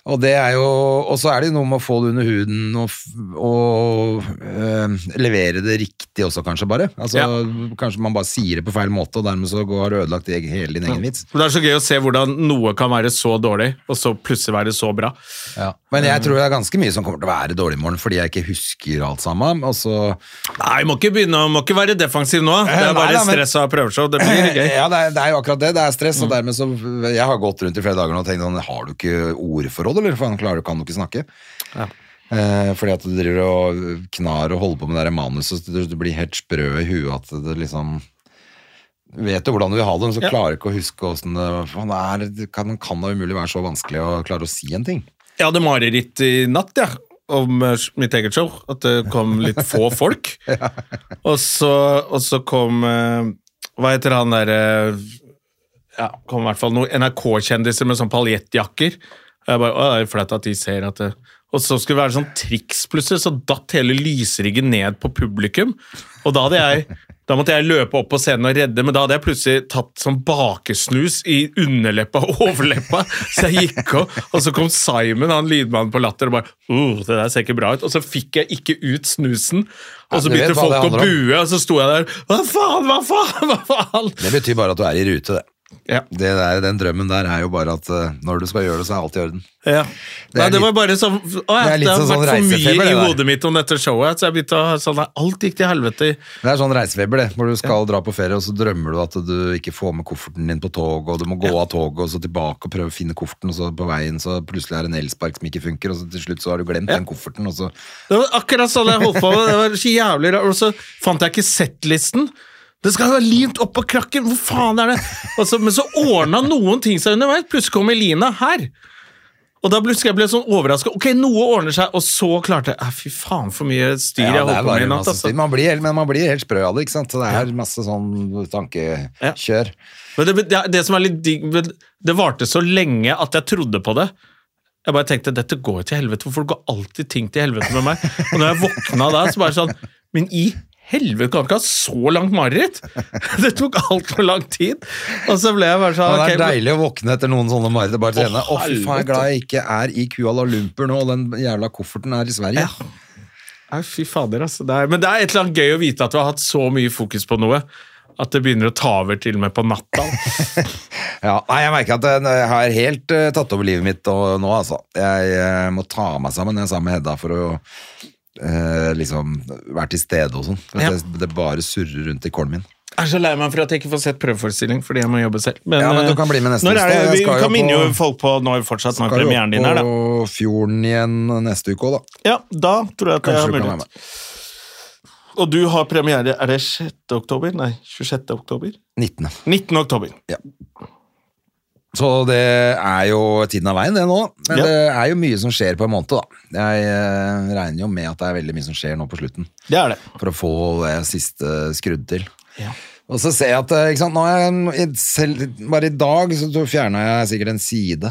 A: Og, det er jo, og så er det jo noe med å få det under huden og, f- og eh, levere det riktig også, kanskje bare. Altså, Kanskje man bare sier det på feil måte, og dermed så går- har du ødelagt egen- hele din egen vits.
B: For Det er så gøy å se hvordan noe kan være så dårlig, og så plutselig være så bra.
A: Men jeg tror det er ganske mye som kommer til å være dårlig i morgen, fordi jeg ikke husker alt sammen. Og så,
B: Nei, må ikke begynne, å- må ikke være defensiv nå. Det
A: Eh,
B: er
A: nei
B: bare
A: da, men-
B: stress av prøveshow. Det blir gøy.
A: Ja, det er, det er jo akkurat det. Det er stress, og dermed så Jeg har gått rundt i flere dager nå og tenkt sånn Har du ikke ordforråd, eller? Faen, klarer du, kan du ikke snakke? Eh, fordi at du driver og knar og holder på med det der manuset, så du, du blir helt sprø i huet at det liksom Vet jo hvordan du vil ha det, men så klarer du ikke å huske åssen det faen, det er, det kan, kan da umulig være så vanskelig å klare å si en ting.
B: Jeg hadde mareritt i natt, ja, om eh, mitt eget show. At det kom litt få folk. og, så, og så kom eh, Hva heter han eh, derre Ja, kom i hvert fall noen NRK-kjendiser med sånn paljettjakker. Og jeg bare, å, det er flaut at de ser at det og så skulle det være sånn triks plutselig, så datt hele lysriggen ned på publikum. Og da hadde jeg da måtte jeg løpe opp på scenen og redde, men da hadde jeg plutselig tatt sånn bakesnus i underleppa og overleppa, så jeg gikk opp, og så kom Simon, han lydmannen på latter, og bare uh, det der ser ikke bra ut. Og så fikk jeg ikke ut snusen, og
A: Ja, du
B: så
A: vet
B: begynte
A: hva
B: folk
A: det
B: å
A: handler om.
B: bue, og så sto jeg der Hva faen, hva faen, hva faen?
A: Det betyr bare at du er i rute, det.
B: Ja.
A: det der, den drømmen der er jo bare at eh, når du skal gjøre det, så er alt i orden.
B: Ja.
A: Det er
B: Nei, det
A: litt-
B: var bare sånn å, ja,
A: det er
B: Det
A: litt
B: har
A: sånn
B: vært for
A: reisefeber,
B: mye i
A: det der.
B: hodet mitt om dette showet, så jeg begynte å ha sånn nei, Alt gikk til helvete.
A: Det er sånn reisefeber, det. Hvor du skal dra på ferie, og så drømmer du at du ikke får med kofferten din på toget, og du må gå av toget, og så tilbake og prøve å finne kofferten, og så på veien så plutselig er det en elspark som ikke funker, og så til slutt så har du glemt den kofferten, og så
B: Det var akkurat sånn jeg holdt på med. Det var så jævlig rart. Og så fant jeg ikke settlisten. Det skal jo være limt oppå krakken! Hvor faen er det? Og så, men så ordna noen ting seg underveis. Plutselig kom Elina her. Og da plutselig jeg ble sånn overraska. Ok, noe ordner seg. Og så klarte jeg «Ah, Fy faen, for mye styr
A: Ja,
B: jeg
A: det er
B: holdt på
A: bare
B: med i natt.
A: masse
B: Altså.
A: styr. man blir, helt- Men man blir helt sprø av det, ikke sant? Så det er masse sånn tankekjør.
B: Men det, det, det som er litt digg men Det varte så lenge at jeg trodde på det. Jeg bare tenkte dette går jo til helvete. Hvorfor går alltid ting til helvete med meg? Og når jeg våkna da, så bare sånn Men i helvete kan jeg ikke ha så langt mareritt! Det tok altfor lang tid. Og så ble jeg bare sånn
A: Men det
B: ok,
A: er
B: men-
A: deilig å våkne etter noen sånne mareritt. Bare trene. Å, fy faen, jeg er
B: helvete.
A: glad jeg ikke er i Kuala Lumpur nå, og den jævla kofferten er i Sverige.
B: Nei, fy fader, altså. Det er, men det er et eller annet gøy å vite at du har hatt så mye fokus på noe. At det begynner å ta over til og med på natta.
A: Ja, nei, jeg merker at jeg- jeg har helt eh, tatt over livet mitt og, nå, altså. Jeg eh, må ta meg sammen. Jeg er sammen med Hedda for å eh, liksom være til stede og sånn. For at
B: Ja.
A: Det, det bare surrer rundt i kollen min.
B: Jeg er så lei meg for at jeg ikke får sett prøveforestilling fordi jeg må jobbe selv. Men,
A: Ja, men du
B: eh,
A: kan bli med neste
B: når er det,
A: onsdag. Jeg
B: Vi
A: skal jo
B: kan minne jo
A: på-
B: folk på når fortsatt når
A: Skal jo
B: premieren din er, da.
A: på fjorden igjen neste uke òg, da.
B: Ja, da tror jeg at jeg
A: Kanskje du
B: har
A: kan være
B: mulighet. Og du har premiere Er det 6. oktober? Nei, 26. oktober?
A: 19.
B: 19. oktober.
A: Så det er jo tiden av veien, det nå. Men
B: Ja.
A: det er jo mye som skjer på en måned, da. Jeg eh, regner jo med at det er veldig mye som skjer nå på slutten.
B: Det er det.
A: for å få det siste skrudd til. Og så ser jeg at eh, ikke sant, nå er jeg, selv, Bare i dag så fjerna jeg sikkert en side.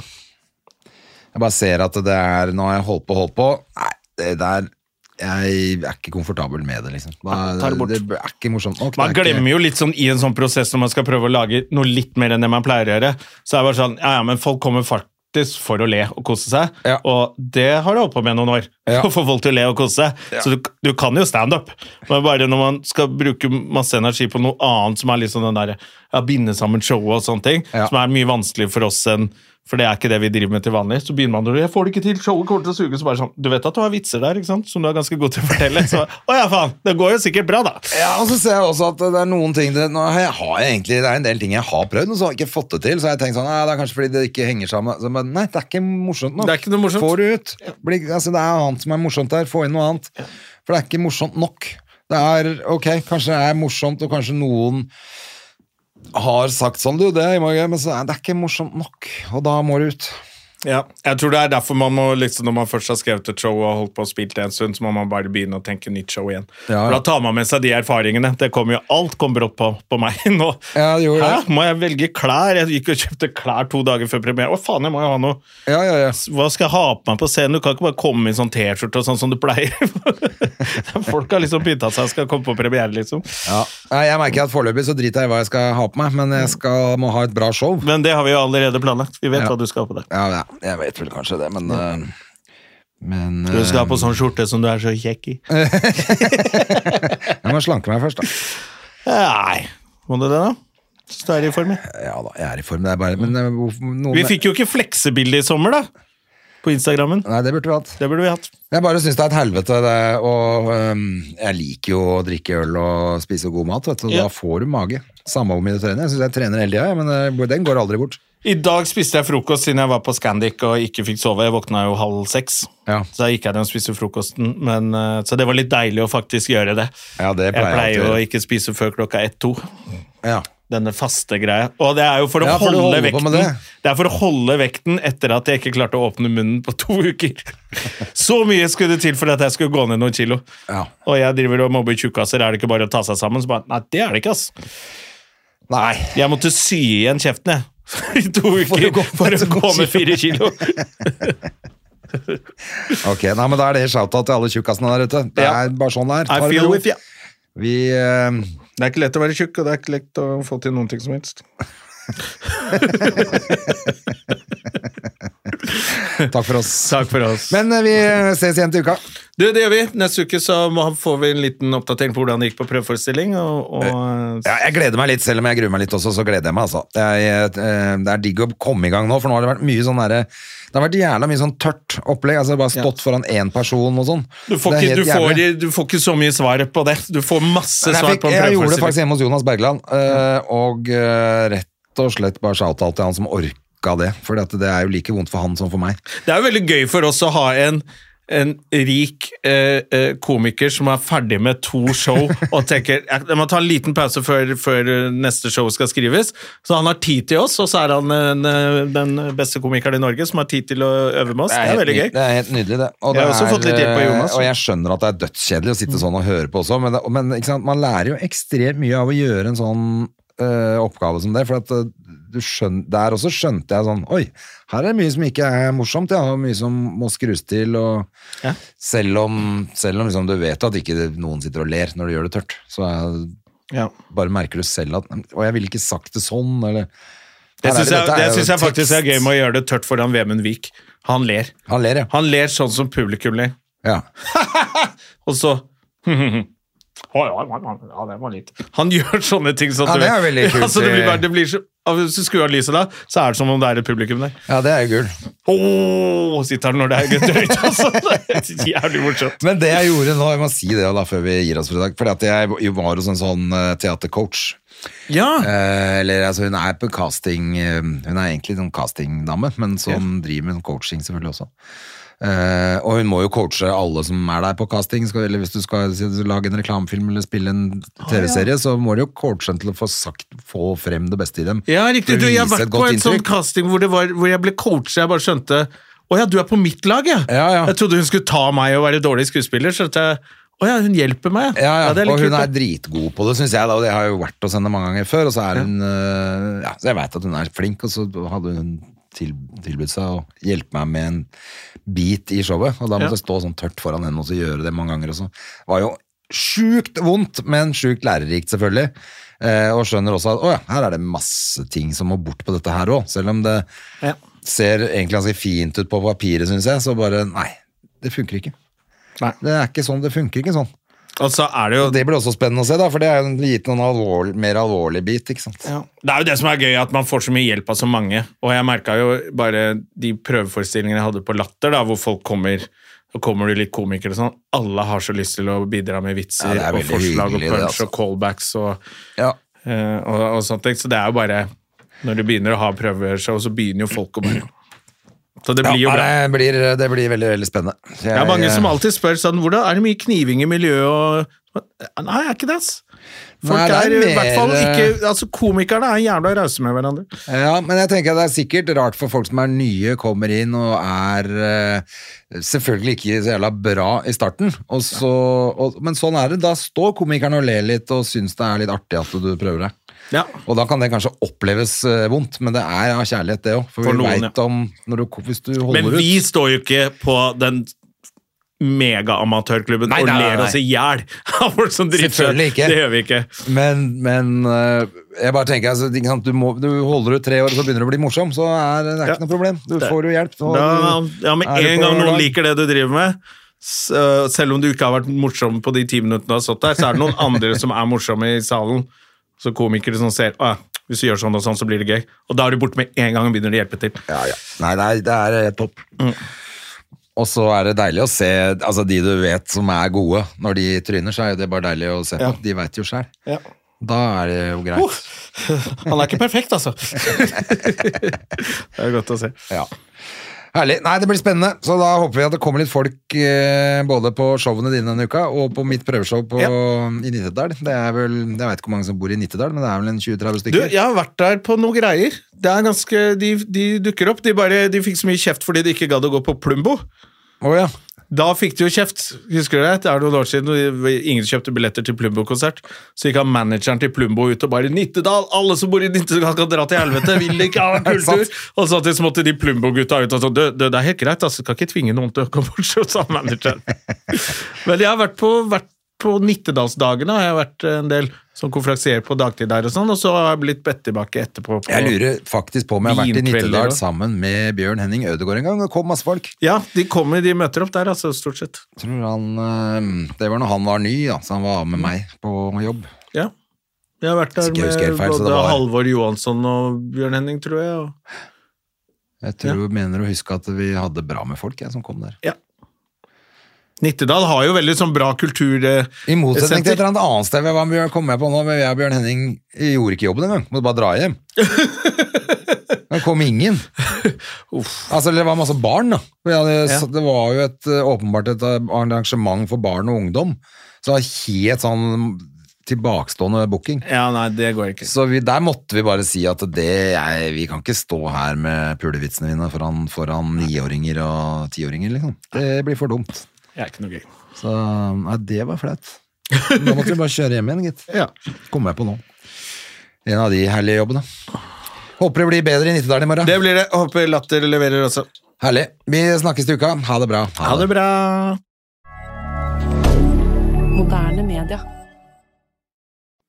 A: Jeg bare ser at det er Nå har jeg holdt på, holdt på. Nei, det der Jeg er ikke komfortabel med det, liksom.
B: Nei, ta det bort.
A: er ikke morsomt nok.
B: Man glemmer jo litt sånn i en sånn prosess når man skal prøve å lage noe litt mer enn det man pleier å gjøre. Så er det bare sånn, ja, ja, men folk kommer faktisk for å le og kose seg,
A: Ja.
B: og det har du holdt på med noen år.
A: Ja.
B: Å få folk til å le og kose seg. Så du, du kan jo standup, men bare når man skal bruke masse energi på noe annet som er liksom den der, ja, binde sammen showet og sånne ting,
A: Ja.
B: som er mye vanskeligere for oss enn for det er ikke det vi driver med til vanlig. Så begynner man å jeg får det ikke til, showet kommer til å suge. Så bare sånn, du vet at du har vitser der, ikke sant? Som du er ganske god til å fortelle. Så, å ja, faen, det går jo sikkert bra, da.
A: Ja, og så ser jeg også at det er noen ting det, nå har jeg, har jeg egentlig, det er en del ting jeg har prøvd, og så har jeg ikke fått det til. Så har jeg tenkt sånn, nei, det er kanskje fordi det ikke henger sammen. Så, men nei, det er ikke morsomt nok.
B: Det er ikke noe morsomt.
A: Få det ut. Bli, altså, det er annet som er morsomt der. Få inn noe annet. For det er ikke morsomt nok. Det er, ok, kanskje det er morsomt, og kanskje noen har sagt sånn, du, det er jo gøy, men så, nei, det er ikke morsomt nok. Og da må det ut.
B: Ja, jeg tror det er derfor man må liksom, når man først har skrevet et show og holdt på og spilt det en stund, så må man bare begynne å tenke nytt show igjen.
A: Ja.
B: For Da tar man med seg de erfaringene. Det kom jo, alt kom brått på, på meg nå.
A: Ja, det gjorde det.
B: Hæ? Må jeg velge klær? Jeg gikk og kjøpte klær to dager før premiere. Å faen, jeg må jo ha noe.
A: Ja, ja, ja.
B: Hva skal jeg ha på meg på scenen? Du kan ikke bare komme i sånn T-skjorte og sånn som du pleier. Folk har liksom pynta seg og skal komme på premiere, liksom.
A: Ja. Nei, Jeg merker at foreløpig så driter jeg i hva jeg skal ha på meg, men jeg skal, må ha et bra show.
B: Men det har vi jo allerede planlagt. Vi vet
A: Ja.
B: hva du skal ha på deg.
A: Ja, ja, jeg vet vel kanskje det, men øh, Men
B: Du
A: øh,
B: skal ha på sånn skjorte som du er så kjekk i.
A: Eh. jeg må slanke meg først, da.
B: Nei, må du det da? Så du er i form, ja.
A: Ja da, jeg er i form. Det er bare Men øh, hvorfor- noen
B: Vi fikk jo ikke fleksebilde i sommer, da. På Instagrammen.
A: Nei, det burde vi hatt.
B: Det burde vi hatt.
A: Jeg bare syns det er et helvete, det. Og øhm, jeg liker jo å drikke øl og spise god mat, vet du. Og da
B: Ja.
A: får du mage. Samme om du trener. Jeg syns jeg trener hele tida, jeg, men øh, den går aldri bort.
B: I dag spiste jeg frokost siden jeg var på Scandic og ikke fikk sove. Jeg våkna jo halv seks,
A: Ja.
B: så da gikk jeg ned og spiste frokosten. Men, eh, så det var litt deilig å faktisk gjøre det.
A: Ja, det pleier
B: jeg
A: jeg alltid å
B: pleier jo
A: gjøre.
B: ikke spise før klokka ett-to.
A: Ja.
B: Denne faste greia. Og det er jo for å
A: Ja, for du
B: holde
A: holder på
B: vekten
A: med det.
B: Det er for å holde vekten etter at jeg ikke klarte å åpne munnen på to uker. Så mye skulle det til for at jeg skulle gå ned noen kilo.
A: Ja.
B: Og jeg driver og mobber tjukkaser. Er det ikke bare å ta seg sammen? Så bare, Nei, det er det ikke, ass.
A: Nei.
B: Jeg måtte sy igjen kjeften, jeg. I to
A: å
B: uker
A: gå-
B: for å
A: for å gå
B: gå med fire kilo.
A: Ok, nei, men Da er det shout-out til alle tjukkasene der ute. Det
B: Ja.
A: er bare sånn det er.
B: I
A: Ta det
B: feel
A: med ro.
B: with you.
A: Vi eh, øhm,
B: Det er ikke lett å være tjukk, og det er ikke lett å få til noen ting som helst.
A: Takk for oss.
B: Takk for oss.
A: Men eh, vi ses igjen til uka.
B: du, det gjør vi. Neste uke så må, får vi en liten oppdatering på hvordan det gikk på prøveforestilling. Og, eh, og,
A: Ja, jeg gleder meg litt, selv om jeg gruer meg litt også, så gleder jeg meg, altså. Jeg, eh, det er digg å komme i gang nå, for nå har det vært mye sånn derre Det har vært jævla mye sånn tørt opplegg. altså Bare stått foran én person og sånn.
B: du, får
A: Det er
B: ikke, du,
A: helt jævlig.
B: får, du får ikke så mye svar på det. Du får masse
A: Men jeg,
B: svar
A: fikk,
B: på en
A: jeg gjorde det faktisk
B: prøveforestilling.
A: hjemme hos Jonas Bergland, eh, og eh, rett og slett bare shout-out til han som orka det. For det er jo like vondt for han som for meg.
B: Det er jo veldig gøy for oss å ha en en rik eh, eh, komiker som er ferdig med to show og tenker "Jeg- jeg må ta en liten pause før, før eh, neste show skal skrives. Så han har tid til oss, og så er han eh, en, eh, den beste komikeren i Norge som har tid til å øve med oss. Det er,
A: helt ny-
B: veldig gøy.
A: Det er helt nydelig, det. Og,
B: Jeg har
A: det
B: også
A: er,
B: fått litt hjelp av Jonas.
A: eh, og jeg skjønner at det er dødskjedelig å sitte sånn og høre på også, men, det, men ikke sant? man lærer jo ekstremt mye av å gjøre en sånn eh, oppgave som det. For at, eh, du skjøn, der også skjønte jeg sånn Oi, her er det mye som ikke er morsomt, ja, og mye som må skrus til. Og,
B: Ja.
A: Selv om, selv om liksom, du vet at ikke det- noen sitter og ler når du gjør det tørt, så er,
B: Ja.
A: bare merker du selv at "Nei, Og jeg ville ikke sagt det sånn, eller
B: Det
A: Her er
B: syns jeg,
A: dette er
B: det
A: jo
B: synes jeg faktisk er
A: tekst.
B: gøy med å gjøre det tørt foran Vemund Vik. Han ler.
A: Han ler, ja.
B: Han ler sånn som publikum ler.
A: ja.
B: Og så Å, ja, ja, ja, ja, det var litt Han gjør sånne ting. Sånn
A: Ja,
B: at du
A: det er
B: vet-
A: veldig kult. eh.
B: Ja, så det blir bare, det blir så, ja, hvis du skrur av lyset da, så er det som om det er et publikum der.
A: Ja, det er jo gull.
B: Åh, sitter han når det er gøy høyt, altså. Det er jævlig morsomt.
A: Men det jeg gjorde nå, jeg må si det da før vi gir oss for i dag, fordi at jeg jo var hos en sånn eh, teatercoach.
B: Ja,
A: Eh, eller altså, hun er på casting, eh, hun er egentlig en sånn castingdame, men som driver med sånn coaching selvfølgelig også. Eh, og hun må jo coache alle som er der på casting, skal, eller hvis du skal si du lage en reklamefilm eller spille en
B: Ah,
A: TV-serie, så må du jo coache dem til å få, sagt, få frem det beste i dem.
B: ja riktig. Du, jeg har
A: For å vise
B: vært
A: et
B: på
A: godt
B: en sånn
A: inntrykk.
B: casting hvor, det var, hvor jeg ble coachet. Jeg bare skjønte Å ja, du er på mitt lag, ja.
A: Ja, ja.
B: Jeg trodde hun skulle ta meg og være dårlig skuespiller. Så at jeg, Å ja, hun hjelper meg.
A: Ja, ja,
B: det er litt
A: og hun
B: kult, da.
A: er dritgod på det, syns jeg. Da. Og jeg har jo vært hos henne mange ganger før, og så er hun øh, ja, så Jeg veit at hun er flink, og så hadde hun til, tilbudt seg å hjelpe meg med en bit i showet, og da
B: Ja.
A: måtte jeg stå sånn tørt foran henne og så gjøre det mange ganger. Og så Det var jo sjukt vondt, men sjukt lærerikt, selvfølgelig. Eh, og skjønner også at å ja, her er det masse ting som må bort på dette her òg, selv om det
B: Ja.
A: ser egentlig ganske fint ut på papiret, syns jeg, så bare nei, det funker ikke.
B: Nei.
A: Det er ikke sånn, det funker ikke sånn.
B: Og så er det jo
A: Og det blir også spennende å se, da, for det er jo en liten og en alvorlig, mer alvorlig bit. ikke sant?
B: Det er jo det som er gøy, at man får så mye hjelp av så mange. Og jeg merka jo bare de prøveforestillingene jeg hadde på Latter, da, hvor folk kommer og kommer du litt komiker og sånn, alle har så lyst til å bidra med
A: Ja,
B: vitser
A: det er
B: og
A: veldig
B: forslag
A: hyggelig,
B: og
A: det,
B: punch
A: altså.
B: og callbacks og,
A: Ja.
B: eh, og, og sånne ting. Så det er jo bare Når du begynner å ha prøveshow, så begynner jo folk å bare Så det blir jo
A: nei,
B: bra.
A: Det, blir, det blir veldig veldig spennende. Jeg,
B: Det er mange som alltid spør sånn Hvordan er det mye kniving i miljøet og Nei, er ikke det, ass.
A: Nei,
B: Folk
A: det er
B: er, i hvert
A: mer- eh,
B: fall ikke Altså, komikerne er jævla rause med hverandre.
A: Ja, men jeg tenker at det er sikkert rart for folk som er nye, kommer inn og er eh, selvfølgelig ikke så jævla bra i starten. Og så, og, men sånn er det. Da står komikerne og ler litt og syns det er litt artig at du prøver deg.
B: Ja.
A: Og da kan det kanskje oppleves eh, vondt, men det er av kjærlighet, det òg. For,
B: For
A: vi
B: noen,
A: vet
B: ja.
A: om når du, Hvis du holder
B: Men
A: ut
B: vi står jo ikke på den megaamatørklubben
A: Nei,
B: og
A: nei, nei,
B: ler
A: nei.
B: oss i hjel av folk som driter seg ut.
A: Selvfølgelig ikke.
B: Det gjør vi ikke.
A: Men, men eh, jeg bare tenker altså, ikke sant, du, må, du holder ut tre år, så begynner du å bli morsom, så er det er
B: Ja.
A: ikke noe problem. Du
B: Det-
A: får jo hjelp. og
B: Da,
A: du-
B: ja, Med
A: er du på
B: en gang noen
A: lag.
B: liker det du driver med, s- øh, selv om du ikke har vært morsom på de ti minuttene du har stått der, så er det noen andre som er morsomme i salen. Så komikere som ser «Å, hvis du gjør sånn og sånn, så blir det gøy. Og da er du borte med en gang og begynner å hjelpe til.
A: Ja, ja. Nei, det er, det er helt topp.
B: Mm.
A: Og så er det deilig å se altså de du vet som er gode, når de tryner, så er jo det bare deilig å se på.
B: Ja.
A: De veit jo sjæl. Da er det jo greit.
B: Uh, han er ikke perfekt, altså. det er godt å se.
A: Ja. Herlig. Nei, det blir spennende. Så da håper vi at det kommer litt folk eh, både på showene dine denne uka og på mitt prøveshow på,
B: Ja.
A: i Nittedal. Det er vel, Jeg veit ikke hvor mange som bor i Nittedal, men det er vel en 20-30
B: Du,
A: stykker.
B: jeg har vært der på noen greier. Det er ganske, de, de dukker opp. De, bare, de fikk så mye kjeft fordi de ikke gadd å gå på Plumbo.
A: Å, ja.
B: Da fikk de jo kjeft, husker du det? Det er noen år siden, og ingen kjøpte billetter til Plumbo-konsert. Så gikk han manageren til Plumbo ut og bare 'Nittedal, alle som bor i Nittedal kan dra til helvete!' Vil ikke ha en kultur! Og så til så måtte de Plumbo-gutta ut og sånn «Du, du, 'Det er helt greit, altså. Skal ikke tvinge noen til å komme bort', så sa manageren. Men jeg har vært på, vært på Nittedalsdagene, og jeg har vært en del som konferansier på dagtid der og sånn, og så har jeg blitt bedt tilbake etterpå. På,
A: Jeg lurer faktisk på om jeg har vært i
B: Vinkvelder
A: Nittedal
B: og-
A: sammen med Bjørn Henning Ødegård en gang. Det kom masse folk.
B: Ja, de kommer, de møter opp der, altså, stort sett.
A: Tror han, eh, det var når han var ny, da, så han var med meg på jobb.
B: Ja. Jeg har vært der
A: Hvis ikke jeg husker
B: med
A: helt feil, så det
B: både
A: var-
B: Halvor Johansson og Bjørn Henning, tror jeg. Og...
A: Jeg tror, mener å huske at vi hadde bra med folk jeg, som kom der.
B: Ja. Nittedal har jo veldig sånn bra kultur... eh,
A: I motsetning til et
B: senter.
A: eller annet annet sted jeg var med, kom jeg på nå, men jeg og Bjørn Henning gjorde ikke jobben engang. Måtte bare dra hjem. Det kom ingen. Altså, det var masse barn, da. Vi hadde, så Det var jo et, eh, åpenbart et arrangement for barn og ungdom. Så det var helt sånn tilbakestående booking.
B: Ja, nei, det går ikke.
A: Så vi, der måtte vi bare si at det er, vi kan ikke stå her med pulevitsene dine foran, foran niåringer og tiåringer, liksom. Det blir for dumt.
B: Det er ikke noe gøy.
A: Så nei, det var flaut. Da måtte vi bare kjøre hjem igjen, gitt.
B: Ja.
A: Kommer jeg på nå. En av de herlige jobbene. Håper det blir bedre i Nittedal i morgen.
B: Det blir det. Håper Latter leverer også.
A: Herlig. Vi snakkes til uka. Ha det bra.
B: Ha det bra!
C: Moderne media.